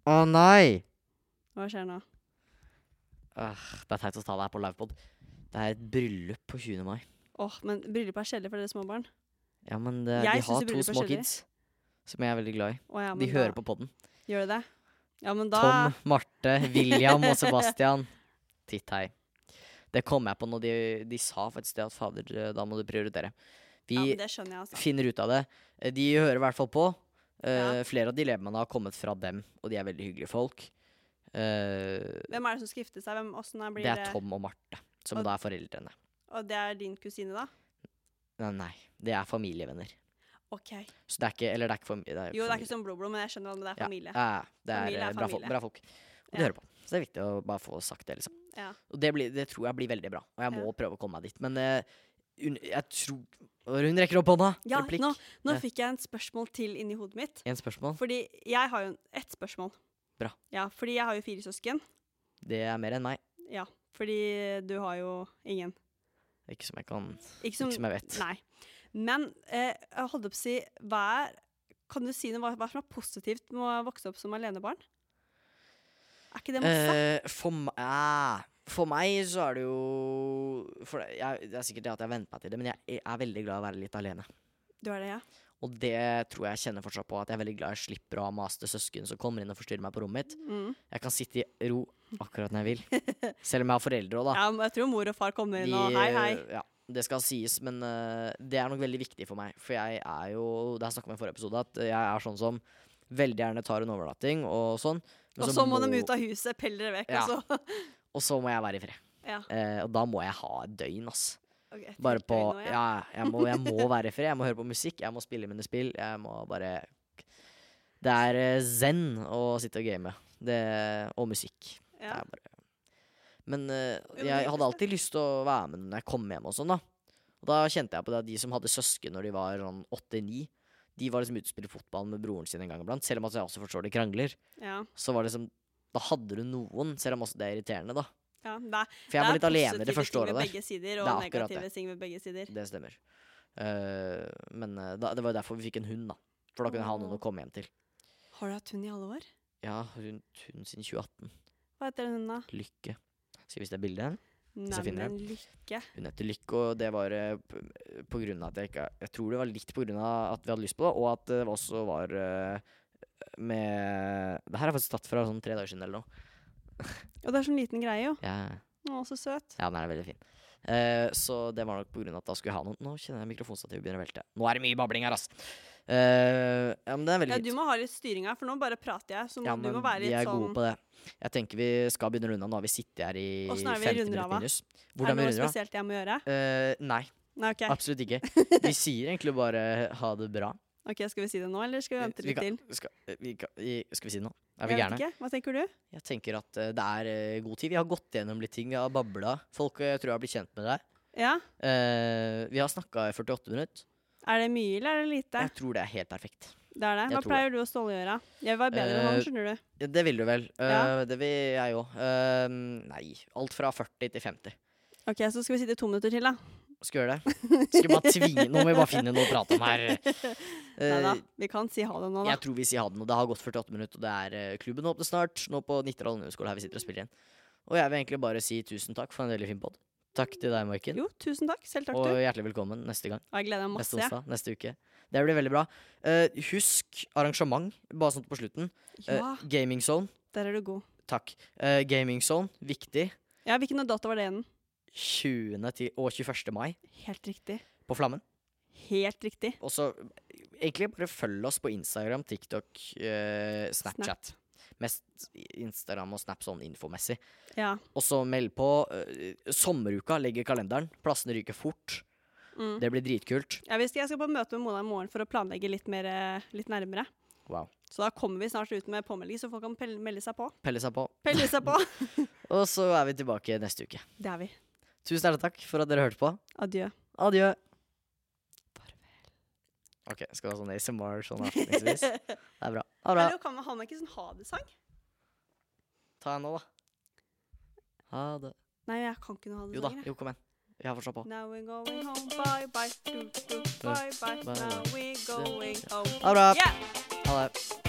Speaker 1: Å nei!
Speaker 2: Hva skjer nå?
Speaker 1: det er teit å ta det her på livepod. Det er et bryllup på 20. mai.
Speaker 2: Åh, men bryllup er kjedelig for dere små barn.
Speaker 1: Ja, men det,
Speaker 2: Jeg
Speaker 1: de
Speaker 2: synes
Speaker 1: har
Speaker 2: det
Speaker 1: to
Speaker 2: bryllup er
Speaker 1: små
Speaker 2: kjedelig.
Speaker 1: kids som jeg er veldig glad i.
Speaker 2: Å, ja,
Speaker 1: de
Speaker 2: men
Speaker 1: hører
Speaker 2: da,
Speaker 1: på podden.
Speaker 2: Gjør de det? Ja, men da
Speaker 1: Tom, Marte, William og Sebastian. Titt hei. Det kom jeg på når de, de sa faktisk det at fader, eh, da må du prioritere. Vi
Speaker 2: ja, men Det skjønner jeg, altså.
Speaker 1: finner ut av det. Eh, De hører i hvert fall på. Eh,
Speaker 2: Ja.
Speaker 1: Flere av dilemmaene har kommet fra dem, og de er veldig hyggelige folk. Eh,
Speaker 2: Hvem er det som skal gifte seg? Hvem, åssen er- blir
Speaker 1: det er Tom og Marte, som
Speaker 2: Og-
Speaker 1: da er foreldrene.
Speaker 2: Og det er din kusine, da?
Speaker 1: Nei, nei, det er familievenner.
Speaker 2: OK.
Speaker 1: Så det er ikke Eller det er ikke, fami det er
Speaker 2: Jo, det er
Speaker 1: familie.
Speaker 2: ikke sånn blodblod, men jeg skjønner hva det er.
Speaker 1: Ja.
Speaker 2: Familie.
Speaker 1: Ja, ja. det er,
Speaker 2: Familie er
Speaker 1: eh, bra, folk,
Speaker 2: familie.
Speaker 1: bra folk. Og de
Speaker 2: Ja.
Speaker 1: hører på. Så det er viktig å bare få sagt det, liksom.
Speaker 2: Ja.
Speaker 1: Og det, blir, det tror jeg blir veldig bra. Og jeg må prøve å komme meg dit. Men eh, hun, jeg tror Hun rekker opp hånda!
Speaker 2: Ja,
Speaker 1: Replikk.
Speaker 2: nå, nå
Speaker 1: Ja.
Speaker 2: fikk jeg en spørsmål til inni hodet mitt.
Speaker 1: En spørsmål.
Speaker 2: Fordi jeg har jo ett spørsmål.
Speaker 1: Bra.
Speaker 2: Ja, fordi jeg har jo fire søsken.
Speaker 1: Det er mer enn meg.
Speaker 2: Ja, fordi du har jo ingen.
Speaker 1: Ikke som jeg kan
Speaker 2: Ikke som,
Speaker 1: Ikke som jeg vet.
Speaker 2: Nei. Men eh, jeg holdt på å si, hva er Kan du si noe hva, hva som er positivt med å vokse opp som alenebarn? Er ikke det masse?
Speaker 1: Eh, for, m- ja, for meg så er det jo for det, jeg, det er sikkert det at jeg venter meg til det, men jeg er veldig glad i å være litt alene.
Speaker 2: du er det, ja.
Speaker 1: Og det tror jeg jeg kjenner fortsatt på, at jeg er veldig glad jeg slipper å ha maste søsken som kommer inn og forstyrrer meg på rommet mitt.
Speaker 2: Mm.
Speaker 1: Jeg kan sitte i ro akkurat når jeg vil. Selv om jeg har foreldre òg, da.
Speaker 2: ja. men Jeg tror mor og far kommer inn og
Speaker 1: De,
Speaker 2: hei, hei.
Speaker 1: eh, Ja, det skal sies, men eh, det er nok veldig viktig for meg. For jeg er jo Det har jeg snakket om i forrige episode, at jeg er sånn som veldig gjerne tar en overnatting og sånn. men
Speaker 2: Og så må de ut av huset, pell dere vekk,
Speaker 1: Ja.
Speaker 2: og så
Speaker 1: Og så må jeg være i fred.
Speaker 2: Ja.
Speaker 1: Eh, og da må jeg ha et døgn, ass.
Speaker 2: Ok, jeg
Speaker 1: Bare
Speaker 2: tenkte
Speaker 1: på
Speaker 2: vi nå, ja.
Speaker 1: Ja, jeg må, jeg må være i fred. Jeg må høre på musikk, jeg må spille mine spill. Jeg må bare Det er eh, zen å sitte og game. Det, og musikk. Det
Speaker 2: Ja.
Speaker 1: er bare Men eh,
Speaker 2: men det
Speaker 1: jeg
Speaker 2: er
Speaker 1: hadde
Speaker 2: best,
Speaker 1: alltid lyst til å være med når jeg kom hjem og sånn, da. Og da kjente jeg på det at de som hadde søsken når de var sånn åtte-ni, de var liksom ute og spilte fotball med broren sin en gang iblant. Selv om at jeg også forstår de krangler,
Speaker 2: Ja.
Speaker 1: så var det liksom Da hadde du noen, selv om også det er irriterende, da.
Speaker 2: ja. Det er,
Speaker 1: For jeg var
Speaker 2: det
Speaker 1: litt
Speaker 2: er
Speaker 1: alene det
Speaker 2: positive
Speaker 1: første
Speaker 2: ting
Speaker 1: året
Speaker 2: ved
Speaker 1: der.
Speaker 2: Begge sider,
Speaker 1: Det
Speaker 2: og
Speaker 1: er akkurat det.
Speaker 2: negative ting ved begge sider.
Speaker 1: Det stemmer. Eh, men eh, da, det var jo derfor vi fikk en hund, da. For da kunne jeg ha noen å
Speaker 2: Åh.
Speaker 1: komme hjem til.
Speaker 2: Har du hatt hund i alle år?
Speaker 1: Ja, rundt hun siden 2018.
Speaker 2: Hva heter den hunden, da?
Speaker 1: Lykke. Skal vi se bildet? jeg finner
Speaker 2: Neimen, lykke.
Speaker 1: Hun heter Lykke, og det var eh, p- på grunn av at jeg ikke Jeg tror det var litt på grunn av at vi hadde lyst på det, og at det også var eh, med Det her er faktisk tatt fra sånn tre dager siden eller noe.
Speaker 2: Og det er sånn liten greie, jo.
Speaker 1: Ja,
Speaker 2: Å, så søt.
Speaker 1: ja den her er veldig fin. Eh, så det var nok på grunn av at da skulle jeg ha noen Nå kjenner jeg mikrofonstativet begynner å velte. Nå er det mye babling her, ass! Eh, ja, men det er veldig
Speaker 2: Ja,
Speaker 1: fint.
Speaker 2: du må ha litt styring her, for nå bare prater jeg, så må,
Speaker 1: Ja,
Speaker 2: du
Speaker 1: men
Speaker 2: må være
Speaker 1: vi
Speaker 2: litt
Speaker 1: er
Speaker 2: sånn
Speaker 1: gode på det. Jeg tenker vi skal begynne å runde av. Nå har vi sittet her i
Speaker 2: Åssen er vi
Speaker 1: 50
Speaker 2: runder
Speaker 1: minutter
Speaker 2: av, da?
Speaker 1: minus.
Speaker 2: Er det
Speaker 1: Hvordan vi
Speaker 2: noe
Speaker 1: runder av?
Speaker 2: spesielt jeg må gjøre?
Speaker 1: Eh, nei,
Speaker 2: Nei, OK.
Speaker 1: absolutt ikke. Vi sier egentlig bare eh, ha det bra.
Speaker 2: Ok, Skal vi si det nå, eller skal vi vente
Speaker 1: Vi
Speaker 2: litt
Speaker 1: kan,
Speaker 2: til?
Speaker 1: skal, eh, vi kan, vi- skal vi si det nå? Er vi
Speaker 2: Jeg vet
Speaker 1: gærne?
Speaker 2: ikke. Hva tenker du?
Speaker 1: Jeg tenker at eh, det er eh, god tid. Vi har gått gjennom litt ting. Vi har babla. Folk eh, tror jeg har blitt kjent med deg.
Speaker 2: Ja?
Speaker 1: Eh, vi har snakka i 48 minutter.
Speaker 2: Er det mye, eller er det lite?
Speaker 1: Jeg tror det er helt perfekt.
Speaker 2: Det er det.
Speaker 1: jeg
Speaker 2: Hva
Speaker 1: tror
Speaker 2: pleier du og Ståle å gjøre? Jeg vil være bedre enn
Speaker 1: Eh,
Speaker 2: han, skjønner du.
Speaker 1: Ja, Det vil du vel. Eh,
Speaker 2: Ja.
Speaker 1: Det vil jeg òg. Eh, nei. Alt fra 40 til 50.
Speaker 2: OK, så skal vi sitte to minutter til, da.
Speaker 1: Skal gjøre det. Skal vi bare tvinge Nå må vi bare finne noe å prate om her. Eh,
Speaker 2: Nei da. Vi kan si ha det nå, da.
Speaker 1: jeg tror vi sier ha den, og det har gått 48 minutter, og det er eh, klubben åpner snart. Nå på Nittedal ungdomsskole her vi sitter og spiller igjen. Og jeg vil egentlig bare si tusen takk for en veldig fin pod. Takk til deg, Maiken.
Speaker 2: Jo, tusen takk. Selv takk,
Speaker 1: Og
Speaker 2: du.
Speaker 1: hjertelig velkommen neste gang.
Speaker 2: Og jeg gleder meg
Speaker 1: Neste
Speaker 2: masse.
Speaker 1: onsdag. Neste uke. Det blir veldig bra. Eh, husk arrangement, bare sånn på slutten. Eh,
Speaker 2: Ja,
Speaker 1: Gaming Zone.
Speaker 2: der er du god.
Speaker 1: Takk. Eh, Gaming Zone, viktig.
Speaker 2: Ja, Hvilken dato var det igjen?
Speaker 1: 20. Til, og 21. mai
Speaker 2: Helt riktig.
Speaker 1: på Flammen.
Speaker 2: Helt riktig.
Speaker 1: Og så egentlig bare følg oss på Instagram, TikTok, eh, Snapchat. Mest Instagram og Snap sånn infomessig.
Speaker 2: Ja.
Speaker 1: Og så meld på. eh, Sommeruka legger kalenderen. Plassene ryker fort.
Speaker 2: Mm.
Speaker 1: Det blir dritkult.
Speaker 2: Jeg, visste, jeg skal på møte med Mona i morgen for å planlegge litt, mer, eh, litt nærmere.
Speaker 1: Wow.
Speaker 2: Så da kommer vi snart ut med påmelding, så folk kan pel- melde seg på.
Speaker 1: Pelle seg på.
Speaker 2: Pelle seg på!
Speaker 1: Og så er vi tilbake neste uke.
Speaker 2: Det er vi.
Speaker 1: Tusen hjertelig takk for at dere hørte på.
Speaker 2: Adjø.
Speaker 1: Adjø.
Speaker 2: Farvel.
Speaker 1: Ok, skal du ha sånn ASMR sånn avslutningsvis? Det er bra. Ha det bra.
Speaker 2: Eller kan man ha med ikke sånn ha det-sang?
Speaker 1: Ta en nå, da. Ha det.
Speaker 2: Nei, jeg kan ikke noe av den
Speaker 1: Jo da,
Speaker 2: sangen. jeg.
Speaker 1: jo, kom igjen. Jeg har forstått på.
Speaker 2: Now we're going home, bye bye, do, do, bye bye.
Speaker 1: bye,
Speaker 2: Now
Speaker 1: bye.
Speaker 2: we're going home.
Speaker 1: Ha det bra.
Speaker 2: Yeah.
Speaker 1: Ha det.